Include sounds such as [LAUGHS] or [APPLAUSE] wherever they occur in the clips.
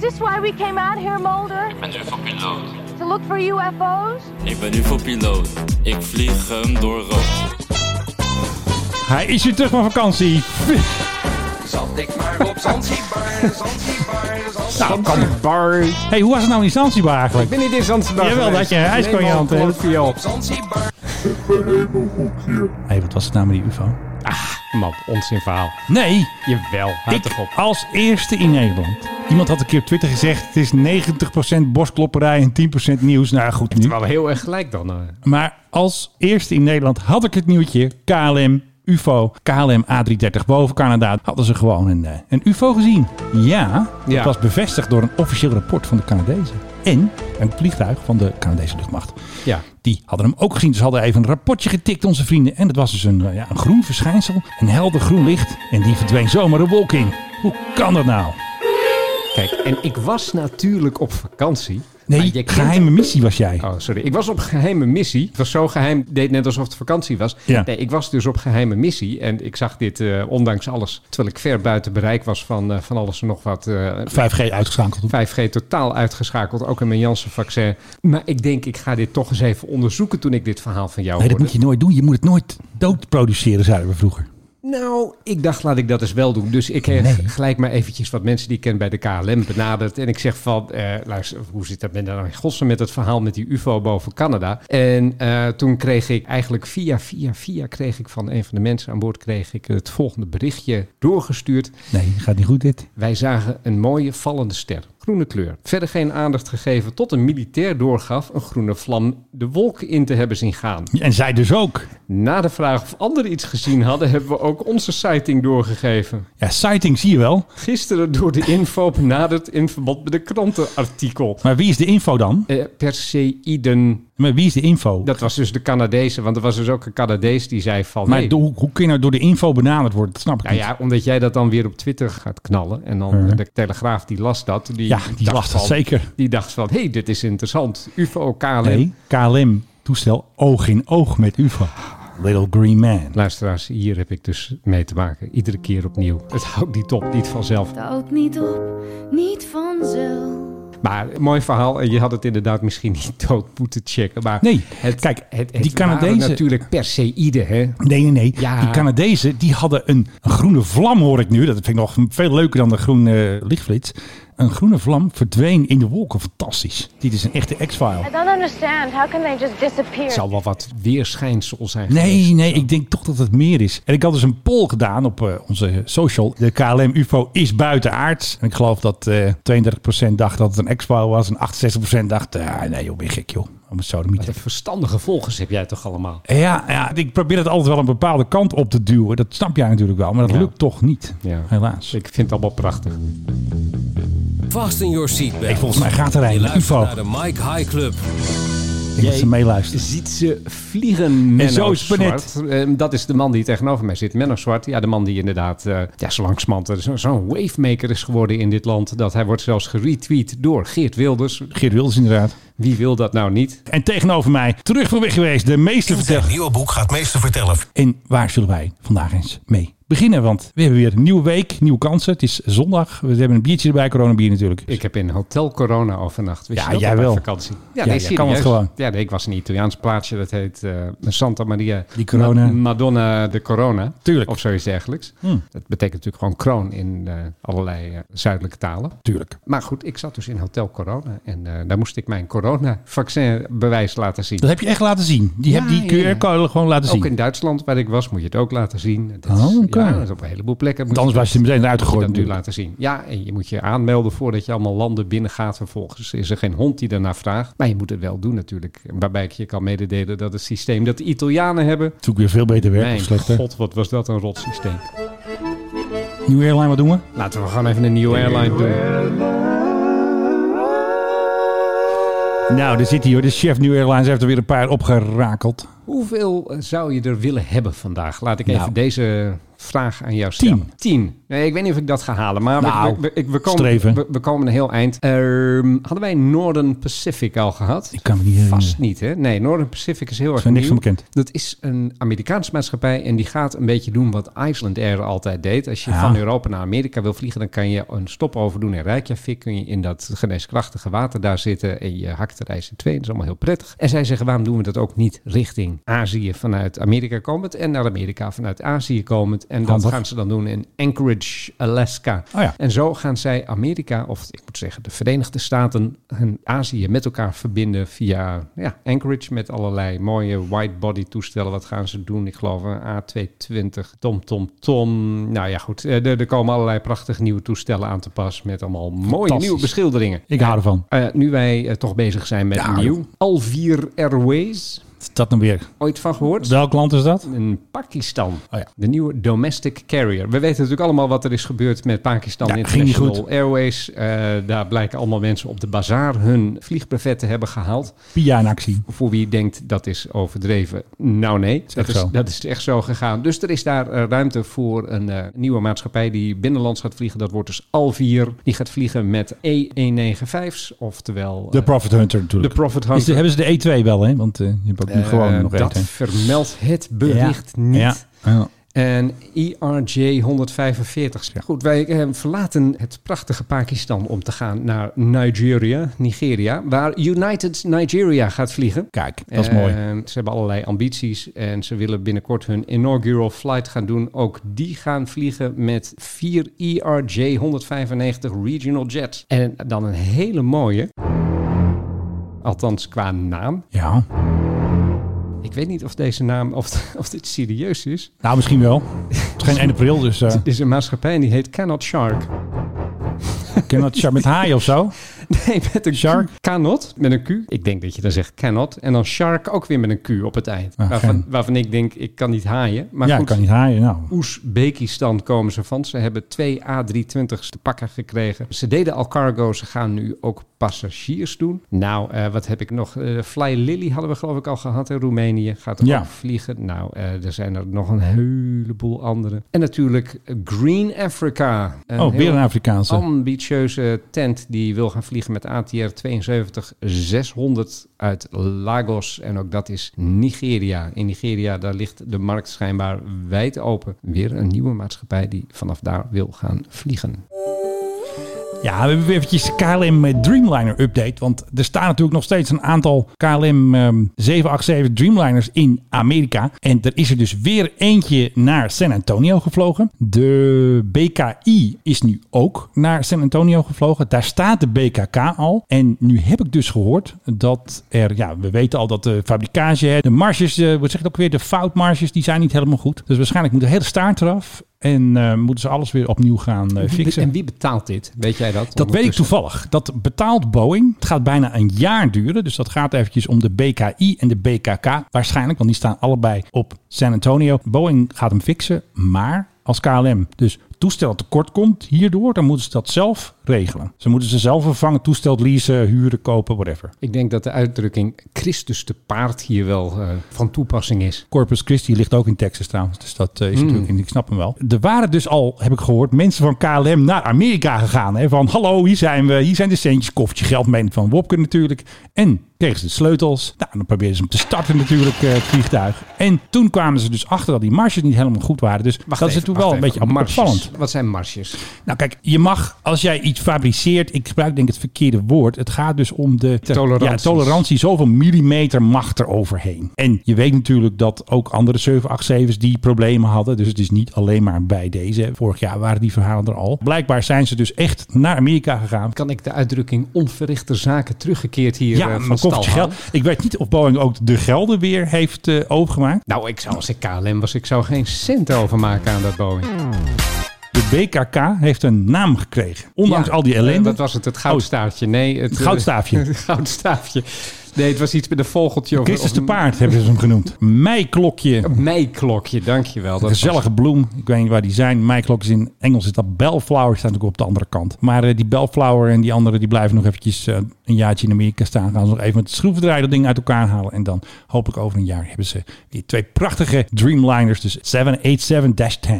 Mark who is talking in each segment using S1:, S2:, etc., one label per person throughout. S1: this why we came out here, Mulder?
S2: Ik ben UFO-piloot.
S1: To look for UFOs?
S2: Ik ben UFO-piloot. Ik vlieg hem door rood.
S3: Hij is weer terug van vakantie.
S4: Zat ik maar op Zanzibar, Zanzibar, Zanzibar.
S3: Nou, kan
S5: Bar.
S3: hey, hoe was het nou in Zanzibar
S5: Ik
S3: eigenlijk?
S5: ben niet in Zanzibar
S3: Jawel,
S5: geweest.
S3: dat je ijs kon je hand
S5: Neem al
S3: hebben.
S5: een klootviool.
S4: Zanzibar.
S3: Hé, hey, wat was het nou met die ufo?
S5: Man, onzin verhaal.
S3: Nee,
S5: Jawel, houd
S3: ik
S5: toch op.
S3: als eerste in Nederland. Iemand had een keer op Twitter gezegd... het is 90% borstklopperij en 10% nieuws. Nou goed, nu.
S5: Wel heel erg gelijk dan. eh.
S3: Maar als eerste in Nederland had ik het nieuwtje KLM UFO. KLM A330 boven Canada hadden ze gewoon een, eh, een UFO gezien. Ja, dat
S5: Ja.
S3: was bevestigd door een officieel rapport van de Canadezen. En een vliegtuig van de Canadese luchtmacht.
S5: Ja.
S3: Die hadden hem ook gezien. Dus hadden even een rapportje getikt, onze vrienden. En dat was dus een, eh, ja, een groen verschijnsel. Een helder groen licht. En die verdween zomaar de wolk in. Hoe kan dat nou?
S5: Kijk, en ik was natuurlijk op vakantie. Maar
S3: Nee,
S5: je kunt-
S3: geheime missie was jij.
S5: Oh, sorry. Ik was op geheime missie. Het was zo geheim, deed net alsof het vakantie was.
S3: Ja.
S5: Nee, ik was dus op geheime missie. En ik zag dit eh, ondanks alles, terwijl ik ver buiten bereik was van, eh, van alles en nog wat. eh,
S3: 5G uitgeschakeld.
S5: 5G totaal uitgeschakeld, ook in mijn Janssen-vaccin. Maar ik denk, ik ga dit toch eens even onderzoeken toen ik dit verhaal van jou
S3: Nee, dat
S5: hoorde.
S3: moet je nooit doen. Je moet het nooit dood produceren, zeiden we vroeger.
S5: Nou, ik dacht, laat ik dat eens wel doen. Dus ik heb gelijk maar eventjes wat mensen die ik ken bij de KLM benaderd. En ik zeg van, eh, luister, hoe zit dat met, nou in godsnaam met dat verhaal met die ufo boven Canada? En eh, toen kreeg ik eigenlijk via, via, via kreeg ik van een van de mensen aan boord kreeg ik het volgende berichtje doorgestuurd.
S3: Nee, gaat niet goed dit.
S5: Wij zagen een mooie vallende ster. Groene kleur. Verder geen aandacht gegeven tot een militair doorgaf een groene vlam de wolk in te hebben zien gaan.
S3: En zij dus ook.
S5: Na de vraag of anderen iets gezien hadden, hebben we ook onze sighting doorgegeven.
S3: Ja, sighting zie je wel.
S5: Gisteren door de info benaderd in verband met een krantenartikel.
S3: Maar wie is de info dan?
S5: Eh, Perseiden,
S3: Maar wie is de info?
S5: dat was dus de Canadezen, want er was dus ook een Canadees die zei van...
S3: maar
S5: hey,
S3: door- hoe, hoe kun je nou door de info benaderd worden? Dat snap ik
S5: nou
S3: niet.
S5: ja, omdat jij dat dan weer op Twitter gaat knallen. En dan
S3: Mhm.
S5: de Telegraaf, die las dat. Die
S3: Ja, die
S5: dacht
S3: dacht dat
S5: van-
S3: zeker.
S5: Die dacht van, hé, hey, dit is interessant. UFO, KLM.
S3: Nee, KLM toestel oog in oog met UFO. Little Green Man.
S5: Luisteraars, hier heb ik dus mee te maken. Iedere keer opnieuw. Het houdt niet op, niet vanzelf.
S6: Het houdt niet op, niet vanzelf.
S5: Maar een mooi verhaal. En je had het inderdaad misschien niet [LAUGHS] dood moeten checken. Maar
S3: Nee,
S5: het,
S3: kijk,
S5: het,
S3: die Canadezen-
S5: waren natuurlijk perseïden, hè?
S3: Nee, nee, nee.
S5: Ja.
S3: Die Canadezen die hadden een, een groene vlam, hoor ik nu. Dat vind ik nog veel leuker dan de groene eh, lichtflits. Een groene vlam verdween in de wolken. Fantastisch. Dit is een echte
S1: I
S3: X-file.
S1: don't understand. How can they just disappear?
S5: Het zal wel wat weerschijnsel zijn.
S3: Nee,
S5: geweest.
S3: nee, ik denk toch dat het meer is. En ik had dus een poll gedaan op eh, onze social. De KLM UFO is buitenaards. En ik geloof dat eh 32% dacht dat het een X-file was. En 68% dacht, ah, nee joh, ben je gek joh. Om het zo te
S5: Wat een verstandige volgers heb jij toch allemaal?
S3: ja, ja, ik probeer het altijd wel een bepaalde kant op te duwen. Dat snap jij natuurlijk wel, maar dat
S5: Ja.
S3: lukt toch niet.
S5: Ja.
S3: Helaas.
S5: Ik vind het allemaal prachtig.
S2: Vast in your seatbelt.
S3: Hey, volgens mij gaat er een,
S2: Je luistert
S3: UFO.
S2: naar de Mike High Club.
S3: Ik denk dat ze meeluisteren.
S5: Ziet ze vliegen, Menno
S3: zo is het maar net.
S5: Zwart. Ehm, dat is de man die tegenover mij zit. Menno Zwart, ja, de man die inderdaad eh ja, zo langzamerhand, eh, zo- zo'n wavemaker is geworden in dit land. Dat hij wordt zelfs geretweet door Geert Wilders.
S3: Geert Wilders inderdaad.
S5: Wie wil dat nou niet?
S3: En tegenover mij, terug van weg geweest, de meester vertelt.
S7: nieuwe boek gaat meester vertellen.
S3: En waar zullen wij vandaag eens mee beginnen? Want we hebben weer een nieuwe week, nieuwe kansen. Het is zondag. We hebben een biertje erbij, coronabier natuurlijk.
S5: Ik heb in Hotel Corona overnacht. Wist
S3: Ja,
S5: je dat
S3: jij
S5: op mijn
S3: wel.
S5: vakantie?
S3: Ja, jij kan het gewoon.
S5: Ja, nee, ik was in een Italiaans plaatsje. Dat heet eh, Santa Maria
S3: Die corona.
S5: Ma- Madonna de Corona.
S3: Tuurlijk. Hmm.
S5: Of zoiets dergelijks. Dat betekent natuurlijk gewoon kroon in eh, allerlei eh, zuidelijke talen.
S3: Tuurlijk.
S5: Maar goed, ik zat dus in Hotel Corona. En eh, daar moest ik mijn corona-vaccinbewijs laten zien.
S3: Dat heb je echt laten zien. Die,
S5: Ja,
S3: heb, die
S5: ja, ja.
S3: QR-code gewoon laten zien.
S5: Ook in Duitsland, waar ik was, moet je het ook laten zien. Dat
S3: Oh, oké.
S5: ja, dat is op een heleboel plekken.
S3: Want anders was je er meteen eruit
S5: moet je
S3: gegooid.
S5: dat nu
S3: natuurlijk.
S5: laten zien. Ja, en je moet je aanmelden voordat je allemaal landen binnengaat. Vervolgens is er geen hond die daarna vraagt. Maar je moet het wel doen natuurlijk. Waarbij ik je kan mededelen dat het systeem dat de Italianen hebben...
S3: Zoek weer veel beter werk of
S5: Mijn
S3: slechter.
S5: god, wat was dat een rot systeem.
S3: Nieuwe airline, wat doen we?
S5: Laten we gewoon even een nieuwe airline doen.
S3: Nou, daar zit hij hoor. De chef New Airlines heeft er weer een paar opgerakeld.
S5: Hoeveel eh, zou je er willen hebben vandaag? Laat ik even
S3: Nou.
S5: deze vraag aan jou stellen.
S3: Tien.
S5: Tien. Nee, ik weet niet of ik dat ga halen, maar we-
S3: Nou,
S5: we, we, ik- we komen,
S3: streven.
S5: we, we komen een heel eind. Ehm, hadden wij Northern Pacific al gehad?
S3: Ik kan me niet herinneren.
S5: Vast niet, hè? Nee, Northern Pacific is heel erg
S3: er niks
S5: nieuw.
S3: van bekend.
S5: Dat is een Amerikaanse maatschappij en die gaat een beetje doen wat Iceland Air altijd deed. Als je
S3: Ja.
S5: van Europa naar Amerika wil vliegen, dan kan je een stopover doen in Reykjavik. Kun je in dat geneeskrachtige water daar zitten en je hakt de reis in twee. Dat is allemaal heel prettig. En zij zeggen, waarom doen we dat ook niet richting Azië vanuit Amerika komend en naar Amerika vanuit Azië komend. En dat
S3: Handig.
S5: gaan ze dan doen in Anchorage, Alaska.
S3: Oh ja.
S5: En zo gaan zij Amerika, of ik moet zeggen de Verenigde Staten en Azië met elkaar verbinden via ja, Anchorage met allerlei mooie widebody toestellen. Wat gaan ze doen? Ik geloof een A220, Tom Tom Tom. Nou ja goed, eh, er, er komen allerlei prachtige nieuwe toestellen aan te pas met allemaal mooie
S3: Fantastisch.
S5: nieuwe beschilderingen.
S3: Ik hou ervan.
S5: Eh, nu wij eh, toch bezig zijn met
S3: Ja.
S5: nieuw. Alvier Airways,
S3: Wat is dat nou weer?
S5: ooit van gehoord?
S3: Welk land is dat?
S5: in Pakistan.
S3: Oh ja.
S5: De nieuwe domestic carrier. We weten natuurlijk allemaal wat er is gebeurd met Pakistan
S3: Ja, ging niet
S5: International Airways. Eh, daar blijken allemaal mensen op de bazaar hun vliegbuffet te hebben gehaald.
S3: Pia in actie.
S5: Voor wie denkt dat is overdreven. Nou nee, dat
S3: echt
S5: is,
S3: zo.
S5: dat is echt zo gegaan. Dus er is daar eh, ruimte voor een eh, nieuwe maatschappij die binnenlands gaat vliegen. Dat wordt dus Alvier. Die gaat vliegen met E E195's, oftewel...
S3: De
S5: eh,
S3: Profit Hunter
S5: de
S3: natuurlijk.
S5: Profit
S3: Is de-
S5: Hunter.
S3: hebben ze de E2 wel, hè? Want eh, je hebt ook nu
S5: Eh,
S3: gewoon nog
S5: dat
S3: één.
S5: vermeldt het bericht
S3: Ja.
S5: niet.
S3: Ja. Ja.
S5: En E IRJ 145.
S3: Ja.
S5: Goed, wij eh, verlaten het prachtige Pakistan om te gaan naar Nigeria, Nigeria, waar United Nigeria gaat vliegen.
S3: Kijk, dat is
S5: En
S3: mooi.
S5: Ze hebben allerlei ambities en ze willen binnenkort hun inaugural flight gaan doen. Ook die gaan vliegen met vier E IRJ 195 regional jets. En dan een hele mooie, althans qua naam.
S3: Ja.
S5: Ik weet niet of deze naam, of, [LAUGHS] of dit serieus is.
S3: Nou, misschien wel. Het is
S5: [LAUGHS]
S3: geen 1 april, dus eh
S5: Dit is een maatschappij en die heet Cannot Shark.
S3: ken dat Char- met haai of zo?
S5: [LAUGHS] Nee, met een
S3: Shark?
S5: Q. Cannot, met een Q. Ik denk dat je dan zegt cannot. En dan shark ook weer met een Q op het eind.
S3: Ah,
S5: waarvan,
S3: geen-
S5: waarvan ik denk, ik kan niet haaien. Maar
S3: ja,
S5: goed,
S3: kan niet haaien. Nou,
S5: Oezbekistan komen ze van. Ze hebben twee A320's te pakken gekregen. Ze deden al cargo, ze gaan nu ook passagiers doen. Nou, eh, wat heb ik nog? Eh, Fly Lily hadden we geloof ik al gehad in Roemenië. Gaat er
S3: Ja.
S5: ook vliegen. Nou, eh, er zijn er nog een heleboel andere. En natuurlijk Green Africa.
S3: oh, weer
S5: heel-
S3: een Afrikaanse.
S5: ambitieuze tent die wil gaan vliegen met ATR 72 600 uit Lagos. En ook dat is Nigeria. In Nigeria, daar ligt de markt schijnbaar wijd open. Weer een nieuwe maatschappij die vanaf daar wil gaan vliegen.
S3: Ja, we hebben weer eventjes KLM eh, Dreamliner update. Want er staan natuurlijk nog steeds een aantal KLM ehm, 787 Dreamliners in Amerika. En er is er dus weer eentje naar San Antonio gevlogen. De BKI is nu ook naar San Antonio gevlogen. Daar staat de BKK al. En nu heb ik dus gehoord dat er, ja, we weten al dat de fabrikage, hè, de marges, eh, wat zeg ik ook weer, de foutmarges, die zijn niet helemaal goed. Dus waarschijnlijk moet de hele staart eraf. En eh, moeten ze alles weer opnieuw gaan eh, fixen.
S5: En wie betaalt dit? Weet jij dat?
S3: Dat weet ik
S5: ondertussen?
S3: toevallig. Dat betaalt Boeing. Het gaat bijna een jaar duren. Dus dat gaat eventjes om de BKI en de BKK waarschijnlijk. Want die staan allebei op San Antonio. Boeing gaat hem fixen. Maar als KLM dus toestel tekort komt hierdoor... dan moeten ze dat zelf regelen. Ze moeten ze zelf vervangen. Toestel leasen, huren, kopen, whatever.
S5: Ik denk dat de uitdrukking Christus te paard hier wel eh, van toepassing is.
S3: Corpus Christi ligt ook in Texas trouwens. Dus dat eh, is
S5: Hmm.
S3: natuurlijk, ik snap hem wel. Er waren dus al, heb ik gehoord, mensen van KLM naar Amerika gegaan. Hè? Van hallo, hier zijn we, hier zijn de centjes, koffertje geld mee van Wopke natuurlijk. En kregen ze de sleutels. Nou, dan probeerden ze hem te starten natuurlijk, eh, het vliegtuig. En toen kwamen ze dus achter dat die marges niet helemaal goed waren. Dus dat is
S5: even,
S3: natuurlijk wel een
S5: wacht
S3: beetje
S5: even. Marges.
S3: opvallend.
S5: Wat zijn marsjes?
S3: Nou kijk, je mag, als jij iets fabriceert, ik gebruik denk ik het verkeerde woord. Het gaat dus om de
S5: Toleranties.
S3: Ja, tolerantie, zoveel millimeter macht er overheen. En je weet natuurlijk dat ook andere 787's die problemen hadden. Dus het is niet alleen maar bij deze. Vorig jaar waren die verhalen er al. Blijkbaar zijn ze dus echt naar Amerika gegaan.
S5: Kan ik de uitdrukking onverrichte zaken teruggekeerd hier eh,
S3: Ja,
S5: van
S3: mijn
S5: stal
S3: koffertje
S5: halen?
S3: geld. Ik weet niet of Boeing ook de gelden weer heeft eh, overgemaakt.
S5: Nou, ik zou, als ik KLM was, ik zou geen cent overmaken aan dat Boeing.
S3: De BKK heeft een naam gekregen. Ondanks
S5: Ja,
S3: al die
S5: eh,
S3: ellende.
S5: Wat was het? Het goudstaafje? Nee, het,
S3: Het goudstaafje.
S5: het [LAUGHS] goudstaafje. Nee, het was iets met een vogeltje. Of,
S3: Christus
S5: of
S3: de Paard hebben ze hem genoemd. Meiklokje.
S5: een meiklokje, dankjewel. Dat
S3: Een gezellige bloem. Ik weet niet waar die zijn. Mijn klok is in Engels is dat bellflower. Staat ook op de andere kant. Maar eh, die bellflower en die andere die blijven nog eventjes eh, een jaartje in Amerika staan. Gaan ze nog even met de schroevendraaier dat ding uit elkaar halen. En dan hopelijk over een jaar hebben ze die twee prachtige Dreamliners. Dus 787-10.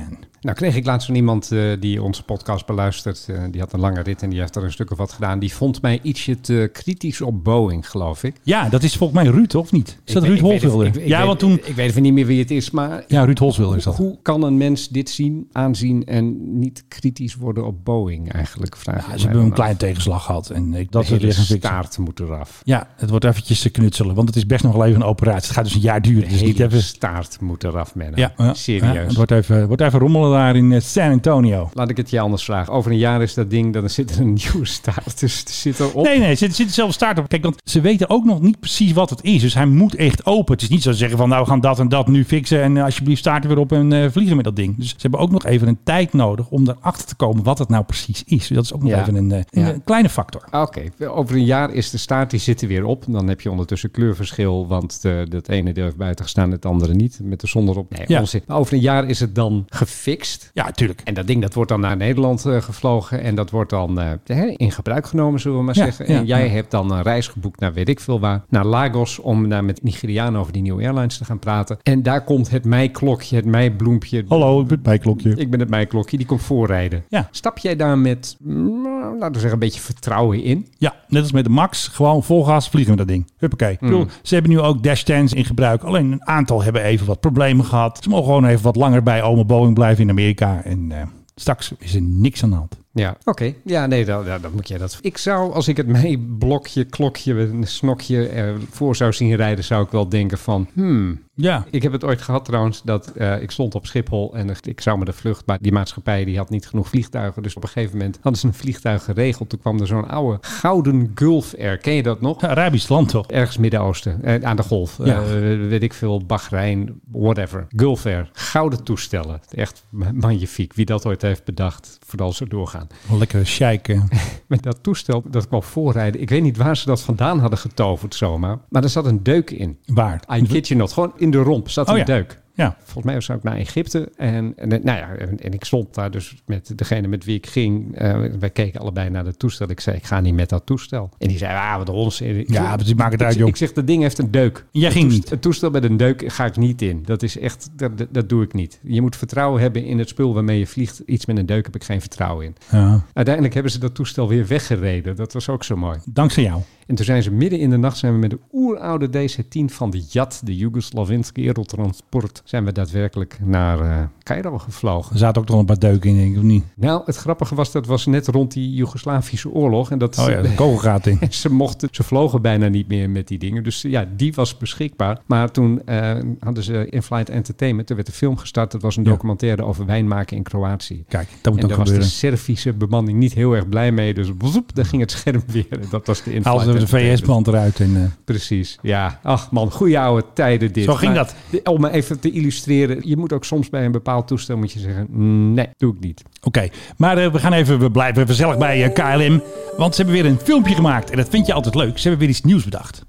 S5: Nou kreeg ik laatst van iemand eh, die onze podcast beluistert. eh, die had een lange rit en die heeft er een stuk of wat gedaan. Die vond mij ietsje te kritisch op Boeing, geloof ik.
S3: Ja, dat is volgens mij Ruud, of niet? Is
S5: Ik
S3: dat
S5: weet-
S3: Ruud
S5: ik weet het-
S3: Holswilder?
S5: ik- ik
S3: Ja,
S5: weet-
S3: want toen...
S5: Ik weet even niet meer wie het is, maar...
S3: Ja, Ruud Holswilder is dat.
S5: Hoe kan een mens dit zien, aanzien en niet kritisch worden op Boeing eigenlijk? Vraag
S3: Ja,
S5: ik
S3: ze
S5: mij
S3: hebben
S5: dan
S3: een
S5: af.
S3: kleine tegenslag gehad. En ik, dat
S5: De
S3: is weer
S5: hele
S3: gaan fixen.
S5: staart moet eraf.
S3: Ja, het wordt eventjes te knutselen. Want het is best nog wel even een operatie. Het gaat dus een jaar duren. Dus niet
S5: hele
S3: even...
S5: staart moet eraf, mennen.
S3: Ja, ja, ja,
S5: Serieus.
S3: het wordt even, wordt even rommelen daar in eh, San Antonio.
S5: Laat ik het je anders vragen. Over een jaar is dat ding, dan zit er een [LAUGHS] nieuwe staart. Dus het zit erop.
S3: Nee, nee, er zit, zit dezelfde staart op. Kijk, want ze weten ook nog niet precies wat het is. Dus hij moet echt open. Het is niet zo zeggen van, nou, we gaan dat en dat nu fixen. En eh, alsjeblieft staart er weer op en eh, vliegen met dat ding. Dus ze hebben ook nog even een tijd nodig om erachter te komen wat het nou precies is. Dus dat is ook nog
S5: Ja.
S3: even een, eh, een,
S5: Ja.
S3: eh, kleine factor.
S5: Ah, Oké, over een jaar is de staart, die zit er weer op. Dan heb je ondertussen kleurverschil, want eh dat ene deel heeft buiten gestaan, het andere niet. Met de zon erop. Nee,
S3: Ja.
S5: onzin. Maar over een jaar is het dan gefixt.
S3: Ja, tuurlijk.
S5: En dat ding dat wordt dan naar Nederland eh, gevlogen en dat wordt dan eh, hè, in gebruik genomen, zullen we maar
S3: Ja,
S5: zeggen.
S3: ja,
S5: en jij
S3: ja.
S5: hebt dan een reis geboekt naar weet ik veel waar, naar Lagos, om daar met Nigerianen over die nieuwe airlines te gaan praten. En daar komt het meiklokje, het meibloempje.
S3: Hallo, ik ben het bijklokje.
S5: Ik ben het meiklokje, die komt voorrijden.
S3: Oh. Ja.
S5: Stap jij daar met, mm, laten we zeggen, een beetje vertrouwen in?
S3: Ja, net als met de Max. Gewoon vol gas vliegen met dat ding. Huppakee. Ik
S5: Hmm.
S3: bedoel, ze hebben nu ook dash 10's in gebruik. Alleen een aantal hebben even wat problemen gehad. Ze mogen gewoon even wat langer bij oma Boeing blijven in Amerika. En eh, straks is er niks aan de hand.
S5: Ja, oké. Ja, nee, dan, dan, dan moet jij dat. Ik zou, als ik het mee blokje, klokje, een snokje eh, voor zou zien rijden, zou ik wel denken van, hmm.
S3: Ja.
S5: Ik heb het ooit gehad trouwens, dat eh, ik stond op Schiphol en ik zou me de vlucht, maar die maatschappij die had niet genoeg vliegtuigen. Dus op een gegeven moment hadden ze een vliegtuig geregeld. Toen kwam er zo'n oude Gouden Gulf Air. Ken je dat nog?
S3: Arabisch land toch?
S5: Ergens Midden-Oosten, eh, aan de golf.
S3: Ja.
S5: Eh, weet ik veel, Bahrein, whatever. Gulf Air, gouden toestellen. Echt ma- magnifiek. Wie dat ooit heeft bedacht, vooral zo doorgaan.
S3: Wel eh, Lekker sheiken.
S5: [LAUGHS] Met dat toestel, dat kwam voorrijden. Ik weet niet waar ze dat vandaan hadden getoverd zomaar. Maar er zat een deuk in.
S3: Waar?
S5: I kid you not. Gewoon in de romp zat
S3: Oh
S5: een
S3: ja.
S5: deuk.
S3: Ja.
S5: Volgens mij zou ik naar Egypte. En, en eh, nou ja, en, en ik stond daar dus met degene met wie ik ging. Eh, wij keken allebei naar dat toestel. Ik zei, ik ga niet met dat toestel. En die zei, ah, wat een onzin. Ik-
S3: Ja, maar die maken het
S5: ik-
S3: uit, joh.
S5: Ik zeg, dat ding heeft een deuk.
S3: Jij
S5: Het
S3: ging
S5: toest-
S3: niet.
S5: Het toestel met een deuk ga ik niet in. Dat is echt, dat, dat- dat doe ik niet. Je moet vertrouwen hebben in het spul waarmee je vliegt. Iets met een deuk heb ik geen vertrouwen in.
S3: Ja.
S5: Uiteindelijk hebben ze dat toestel weer weggereden. Dat was ook zo mooi.
S3: Dankzij jou.
S5: En toen zijn ze midden in de nacht zijn we met de oeroude DC-10 van de JAT, de Joegoslavinske Aerotransport, zijn we daadwerkelijk naar eh Cairo gevlogen.
S3: Er zaten ook nog een paar deuken in, denk ik, of niet?
S5: Nou, het grappige was, dat was net rond die Joegoslavische oorlog. En dat
S3: Oh
S5: [LAUGHS]
S3: ja, de kogelgaat in.
S5: ze, mochten, ze vlogen bijna niet meer met die dingen. Dus ja, die was beschikbaar. Maar toen eh, hadden ze in-flight entertainment. Er werd een film gestart. Dat was een
S3: Ja.
S5: documentaire over wijnmaken in Kroatië.
S3: Kijk, dat moet
S5: En
S3: ook
S5: daar was dus de
S3: gebeuren.
S5: Servische bemanning niet heel erg blij mee. Dus woep, daar ging het scherm weer. En Dat was de in
S3: Haal ze de VS-band eruit. En, eh,
S5: Precies, ja. Ach man, goede oude tijden dit.
S3: Zo ging
S5: Maar
S3: dat.
S5: de- Om even te illustreren. Je moet ook soms bij een bepaald toestel moet je zeggen... nee, doe ik niet.
S3: Oké, maar eh, we gaan even, we blijven even gezellig bij eh, KLM. Want ze hebben weer een filmpje gemaakt. En dat vind je altijd leuk. Ze hebben weer iets nieuws bedacht.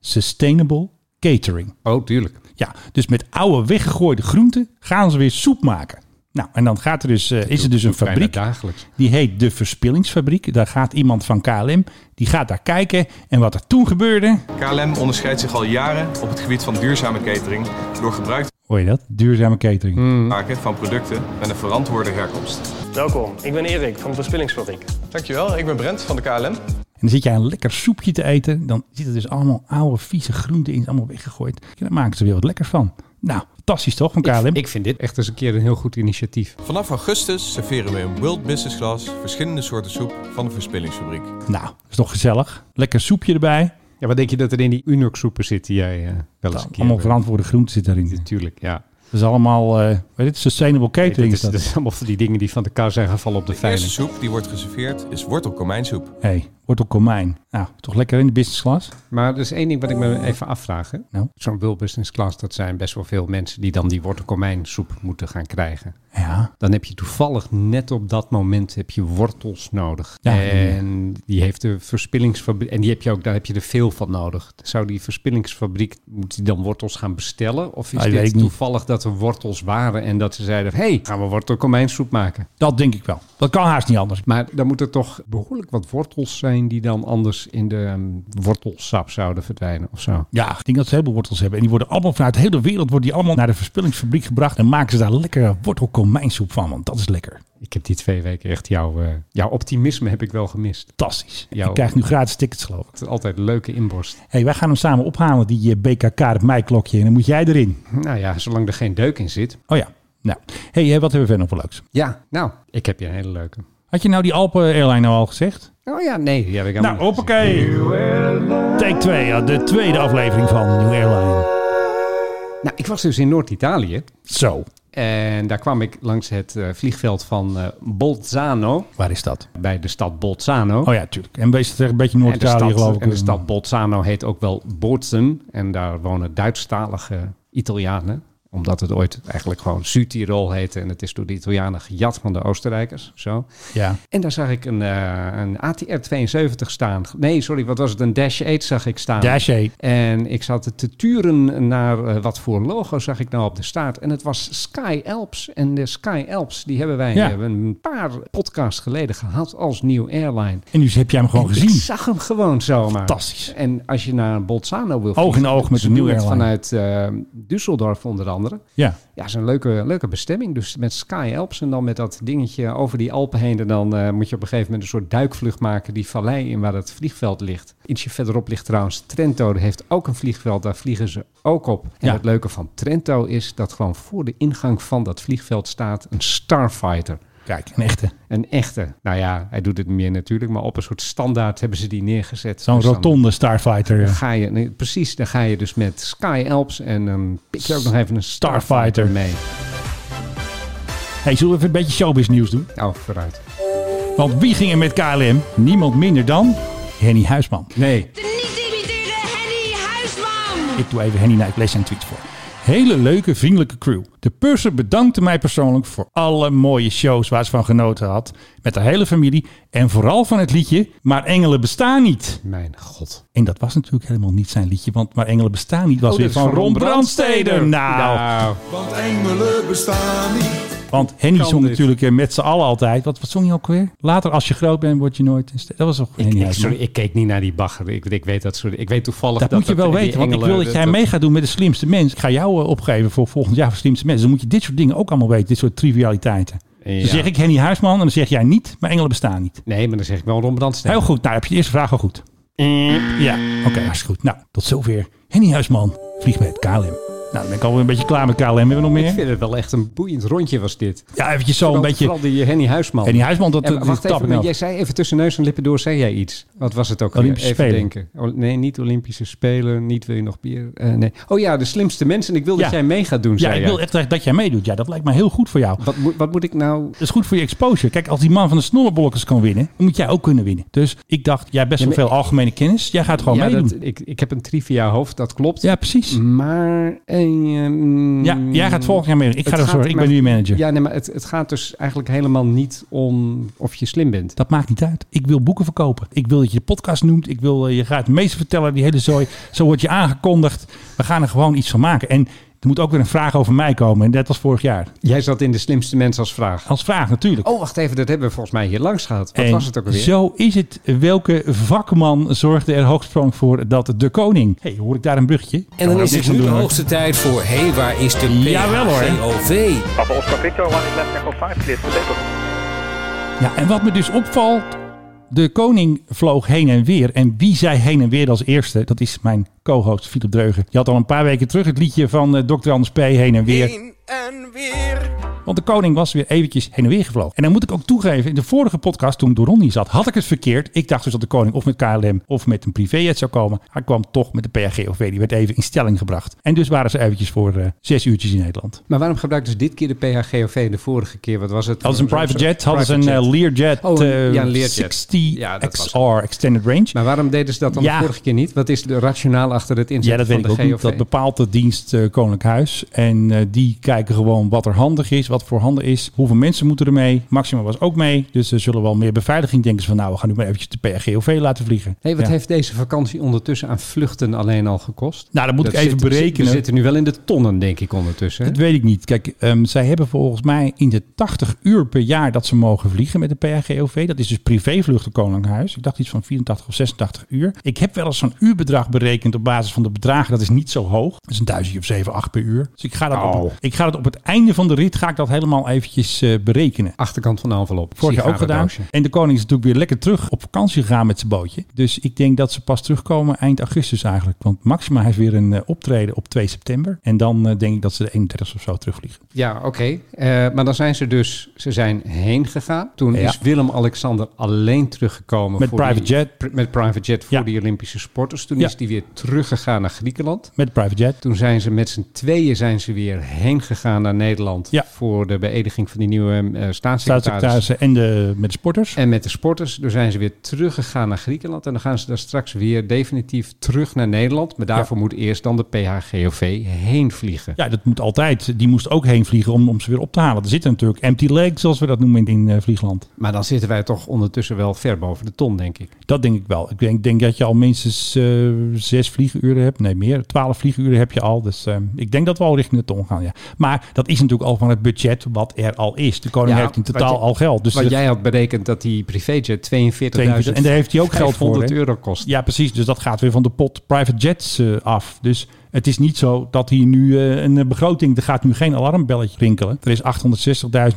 S3: Sustainable catering.
S5: Oh, tuurlijk.
S3: Ja, dus met oude weggegooide groenten gaan ze weer soep maken. Nou, en dan gaat er dus, eh, is er dus een
S5: Bijna
S3: fabriek.
S5: dagelijks.
S3: Die heet de Verspillingsfabriek. Daar gaat iemand van KLM, die gaat daar kijken. En wat er toen gebeurde,
S7: KLM onderscheidt zich al jaren op het gebied van duurzame catering door gebruik te
S3: hoor je dat? Duurzame catering.
S7: maken van producten met een verantwoorde herkomst.
S8: Welkom, ik ben Erik van de Verspillingsfabriek.
S7: Dankjewel, ik ben Brent van de KLM.
S3: En dan zit jij een lekker soepje te eten. Dan zit er dus allemaal oude, vieze groenten in, allemaal weggegooid. En daar maken ze weer wat lekkers van. Nou, fantastisch toch van KLM?
S5: Ik vind dit echt eens een keer een heel goed initiatief.
S7: Vanaf augustus serveren we in World Business Class verschillende soorten soep van de verspillingsfabriek.
S3: Nou, dat is toch gezellig. Lekker soepje erbij.
S5: Ja, wat denk je dat er in die unoksoepen zit die jij eh, wel eens een keer...
S3: Nou, Allemaal verantwoorde groenten zit daarin. Dat
S5: Natuurlijk, ja.
S3: is allemaal, eh weet je, sustainable
S5: Nee, dat,
S3: catering.
S5: is,
S3: is
S5: dat
S3: dat.
S5: is allemaal van die dingen die van de kar zijn gevallen op de
S7: De eerste
S5: veiling.
S7: soep die wordt geserveerd is wortelkomijnsoep.
S3: hey, wordt op komijn. Nou, toch lekker in de business class?
S5: Maar er is één ding wat ik me even afvraag. hè.
S3: Nou?
S5: Zo'n World Business Class, dat zijn best wel veel mensen... die dan die wortelkomijnsoep moeten gaan krijgen.
S3: Ja.
S5: dan heb je toevallig net op dat moment heb je wortels nodig.
S3: Ja.
S5: en Die heeft de verspillingsfabriek. En die heb je ook, daar heb je er veel van nodig. Zou die verspillingsfabriek, moet die dan wortels gaan bestellen? Of is
S3: Ah, weet ik
S5: dit
S3: niet.
S5: toevallig dat er wortels waren en dat ze zeiden: hé, hey, gaan we wortelkomijnsoep maken?
S3: Dat denk ik wel. Dat kan haast niet anders.
S5: Maar dan moet er toch behoorlijk wat wortels zijn die dan anders in de ehm, wortelsap zouden verdwijnen of zo.
S3: Ja, ik denk dat ze heel veel wortels hebben. En die worden allemaal vanuit de hele wereld worden die allemaal naar de verspillingsfabriek gebracht. En maken ze daar lekkere wortelkomijnsoep van. Want dat is lekker.
S5: Ik heb die twee weken echt jouw, eh, jouw optimisme heb ik wel gemist.
S3: Fantastisch.
S5: Ja,
S3: Je krijgt nu gratis tickets geloof ik.
S5: Het is altijd een leuke inborst.
S3: hey, wij gaan hem samen ophalen, die eh, BKK, het meiklokje. En dan moet jij erin.
S5: Nou ja, zolang er geen deuk in zit.
S3: Oh ja. Nou, hey, eh, wat hebben we verder nog voor leuks?
S5: Ja, nou, ik heb je een hele leuke.
S3: Had je nou die Alpen Airline nou al gezegd?
S5: Oh ja, nee, die heb ik
S3: Nou,
S5: helemaal niet gezien.
S3: hoppakee. Take 2, ja, de tweede aflevering van New Airline.
S5: Nou, ik was dus in Noord-Italië.
S3: Zo,
S5: En daar kwam ik langs het eh, vliegveld van eh, Bolzano.
S3: waar is dat?
S5: Bij de stad Bolzano.
S3: Oh ja, tuurlijk. En wees het echt een beetje
S5: en, de
S3: Noord-Italië, geloof
S5: stad,
S3: ik. eh,
S5: en de stad Bolzano heet ook wel Bozen. En daar wonen Duitsstalige Italianen. Omdat het ooit eigenlijk gewoon Zuid-Tirol heette. En het is door de Italianen gejat van de Oostenrijkers. Zo.
S3: Ja.
S5: En daar zag ik een, eh, een ATR-72 staan. Nee, sorry, wat was het? Een Dash 8 zag ik staan.
S3: Dash 8.
S5: En ik zat te turen naar eh, wat voor logo zag ik nou op de staart. En het was Sky Alps. En de Sky Alps, die hebben wij
S3: Ja.
S5: eh, een paar podcasts geleden gehad als nieuw airline.
S3: En nu heb jij hem gewoon
S5: Ik
S3: gezien.
S5: zag hem gewoon zomaar.
S3: Fantastisch.
S5: En als je naar Bolzano wil
S3: Oog in oog met
S5: ze
S3: een nieuw
S5: doen het
S3: airline.
S5: vanuit eh, Düsseldorf onder andere.
S3: Ja.
S5: Ja, is een leuke, leuke bestemming. Dus met Sky Alps en dan met dat dingetje over die Alpen heen. En dan eh, moet je op een gegeven moment een soort duikvlucht maken. Die vallei in waar het vliegveld ligt. Ietsje verderop ligt trouwens Trento. Die heeft ook een vliegveld. Daar vliegen ze ook op. En
S3: Ja.
S5: het leuke van Trento is dat gewoon voor de ingang van dat vliegveld staat een Starfighter.
S3: Kijk, een echte.
S5: Een echte. Nou ja, hij doet het niet meer natuurlijk. Maar op een soort standaard hebben ze die neergezet.
S3: Zo'n
S5: Dus dan-
S3: rotonde Starfighter.
S5: dan ga je, nee, precies, dan ga je dus met Sky Alps en dan pik je ook nog even een Starfighter
S3: Starfighter.
S5: mee.
S3: Hey, zullen we even een beetje showbiz nieuws doen?
S5: Oh, vooruit.
S3: Want wie ging er met KLM? Niemand minder dan Henny Huisman.
S5: Nee.
S3: Ik doe even Henny naar ik lees zijn tweet voor. Hele leuke, vriendelijke crew. De purser bedankte mij persoonlijk voor alle mooie shows waar ze van genoten had. Met haar hele familie. En vooral van het liedje Maar Engelen Bestaan Niet.
S5: Mijn god.
S3: En dat was natuurlijk helemaal niet zijn liedje. Want Maar Engelen Bestaan Niet was
S5: Oh,
S3: weer
S5: dit is
S3: van Ron Brandsteder. Nou,
S7: Want engelen bestaan niet.
S3: want Henny
S5: kan
S3: zong
S5: dit.
S3: natuurlijk eh, met z'n allen altijd. Wat, wat zong je ook weer? Later als je groot bent word je nooit... een ster. Dat was toch
S5: Ik,
S3: Henny
S5: ik-
S3: Huisman?
S5: sorry, ik keek niet naar die bagger. Ik, ik weet dat soort. Ik weet toevallig
S3: eh, Dat,
S5: dat
S3: moet je wel
S5: die
S3: weten, want ik
S5: engelen-
S3: wil dat jij mee gaat doen met de slimste mens. Ik ga jou eh, opgeven voor volgend jaar voor slimste mensen. Dan moet je dit soort dingen ook allemaal weten, dit soort trivialiteiten.
S5: Ja.
S3: Dan zeg ik Henny Huisman en dan zeg jij niet, maar engelen bestaan niet.
S5: Nee, maar dan zeg ik wel Ron Brandsteder.
S3: Heel goed, nou heb je de eerste vraag al goed.
S5: Mm.
S3: Ja, oké, hartstikke goed. Nou, tot zover. Henny Huisman, vlieg met KLM. Nou, dan ben ik alweer een beetje klaar met KLM. Hebben we nog
S5: Ik
S3: meer?
S5: vind het wel echt een boeiend rondje was dit.
S3: Ja, eventjes zo een
S5: Vooral-
S3: beetje...
S5: Vooral die eh, Henny Huisman.
S3: Henny Huisman, dat,
S5: En
S3: dat
S5: wacht
S3: dat
S5: even,
S3: tappen
S5: maar
S3: ook.
S5: jij zei even tussen neus en lippen door, zei jij iets. Wat was het ook? weer?
S3: Olympische
S5: even
S3: Spelen.
S5: denken. O- nee, niet Olympische Spelen, niet wil je nog bier. Eh, nee. Oh ja, de slimste mensen. Ik wil
S3: Ja.
S5: dat jij mee gaat doen,
S3: Ja,
S5: zei
S3: ik
S5: jij.
S3: wil echt echt dat jij meedoet. Ja, dat lijkt me heel goed voor jou.
S5: Wat, moet, wat moet ik nou...
S3: Dat is goed voor je exposure. Kijk, als die man van de snollebollekers kan winnen, dan moet jij ook kunnen winnen. Dus ik dacht, jij hebt best
S5: Ja,
S3: wel veel algemene kennis. Jij gaat gewoon
S5: ja,
S3: meedoen.
S5: dat, Mm. ik, ik heb een trivia hoofd, dat klopt.
S3: Ja, precies.
S5: Maar... eh, ehm,
S3: Ja, jij gaat volgend jaar meedoen. Ik ga
S5: het
S3: er
S5: gaat
S3: zorgen. Ik
S5: maar-
S3: ben nu je manager.
S5: Ja, nee, maar het, het gaat dus eigenlijk helemaal niet om of je slim bent.
S3: Dat maakt niet uit. Ik wil boeken verkopen. Ik wil dat je de podcast noemt. Ik wil eh, je gaat het meeste vertellen, die hele zooi. Zo word je aangekondigd. We gaan er gewoon iets van maken. En er moet ook weer een vraag over mij komen. En net als vorig jaar.
S5: Jij zat in de slimste mensen als vraag.
S3: Als vraag natuurlijk.
S5: Oh, wacht even, dat hebben we volgens mij hier langs gehad. Wat
S3: En
S5: was het ook alweer?
S3: Zo is het. Welke vakman zorgde er hoogsprong voor dat de koning. hey, hoor ik daar een brugje?
S9: En dan is het nu de hoogste tijd voor... Hé, hey, waar is de
S3: Jawel, hoor.
S9: PHGOV?
S10: Papa Oscar Victor, one is left echo 5, clear for takeoff.
S3: Ja, en wat me dus opvalt. De koning vloog heen en weer. En wie zei heen en weer als eerste? Dat is mijn co-host Philip Dreugen. Je had al een paar weken terug het liedje van eh, Dr. Anders P. Heen en weer.
S4: en weer.
S3: Want de koning was weer eventjes heen en weer gevlogen. En dan moet ik ook toegeven, in de vorige podcast toen Doron hier zat, had ik het verkeerd. Ik dacht dus dat de koning of met KLM of met een privéjet zou komen. Hij kwam toch met de PHGOV. Die werd even in stelling gebracht. En dus waren ze eventjes voor eh, zes uurtjes in Nederland.
S5: Maar waarom gebruikten ze dit keer de PHGOV en de vorige keer? Wat was het?
S3: Hadden ze een private jet, hadden ze een
S5: Private
S3: eh,
S5: jet.
S3: Learjet,
S5: Oh, een-
S3: eh,
S5: ja, een Learjet.
S3: 60
S5: Ja, dat was het.
S3: XR Extended Range.
S5: Maar waarom deden ze dat dan
S3: Ja.
S5: de vorige keer niet? Wat is de rationaal achter het
S3: Ja,
S5: inzetten
S3: dat
S5: van
S3: weet ik ook
S5: de
S3: niet.
S5: GOV?
S3: Dat bepaalt de dienst eh, Koninklijk Huis. En eh, die kijken gewoon wat er handig is, wat wat voorhanden is. Hoeveel mensen moeten er mee? Maxima was ook mee. Dus er zullen wel meer beveiliging denken ze van nou, we gaan nu maar eventjes de PRGOV laten vliegen.
S5: Hey, wat
S3: Ja.
S5: heeft deze vakantie ondertussen aan vluchten alleen al gekost?
S3: Nou, dat moet ik even
S5: zit-
S3: berekenen.
S5: We zitten nu wel in de tonnen, denk ik, ondertussen. hè?
S3: Dat weet ik niet. Kijk, ehm, zij hebben volgens mij in de 80 uur per jaar dat ze mogen vliegen met de PHGOV. Dat is dus privévluchten Koninkhuis. Ik dacht iets van 84 of 86 uur. Ik heb wel eens zo'n uurbedrag berekend op basis van de bedragen. Dat is niet zo hoog. Dat is een duizendje of 7, 8 per uur. Dus ik ga, dat op,
S5: Oh.
S3: ik ga dat op het einde van de rit ga ik dat helemaal eventjes eh, berekenen.
S5: Achterkant van de envelop.
S3: Vorig jaar ook gedaan.
S5: Sigarendoosje.
S3: En de koning is natuurlijk weer lekker terug op vakantie gegaan met zijn bootje. Dus ik denk dat ze pas terugkomen eind augustus eigenlijk. Want Maxima heeft weer een eh, optreden op 2 september. En dan eh, denk ik dat ze de 31 of zo terugvliegen.
S5: Ja, oké. Eh, maar dan zijn ze dus ze zijn heen gegaan. Toen
S3: Ja.
S5: is Willem-Alexander alleen teruggekomen.
S3: Met
S5: voor die-
S3: private jet.
S5: pr- met private jet voor
S3: Ja.
S5: die Olympische sporters. Toen
S3: Ja.
S5: is die weer teruggegaan naar Griekenland.
S3: Met de private jet.
S5: Toen zijn ze met z'n tweeën zijn ze weer heen gegaan naar Nederland.
S3: Ja.
S5: Voor de beëdiging van die nieuwe eh staatssecretaris.
S3: Staatssecretarissen en de, met de sporters.
S5: En met de sporters, daar zijn ze weer teruggegaan naar Griekenland. En dan gaan ze daar straks weer definitief terug naar Nederland. Maar daarvoor moet eerst dan de PHGOV heen vliegen.
S3: Ja, dat moet altijd. Die moest ook heen vliegen om, om ze weer op te halen. Er zitten natuurlijk empty legs, zoals we dat noemen in eh, Vliegland.
S5: Maar dan zitten wij toch ondertussen wel ver boven de ton, denk ik.
S3: Dat denk ik wel. Ik denk, denk dat je al minstens eh, zes vlieguren hebt. Nee, meer. Twaalf vlieguren heb je al. Dus eh, ik denk dat we al richting de ton gaan, ja. Maar dat is natuurlijk al van het budget wat er al is. De koning
S5: Ja,
S3: heeft in
S5: wat
S3: totaal
S5: je-
S3: al geld. Dus
S5: Want
S3: dat-
S5: jij had berekend dat die privéjet 42.000
S3: en daar heeft hij ook geld voor,
S5: 500
S3: hè?
S5: euro kost.
S3: Ja, precies. Dus dat gaat weer van de pot private jets eh, af. Dus het is niet zo dat hier nu eh, een eh, begroting... Er gaat nu geen alarmbelletje rinkelen. Er is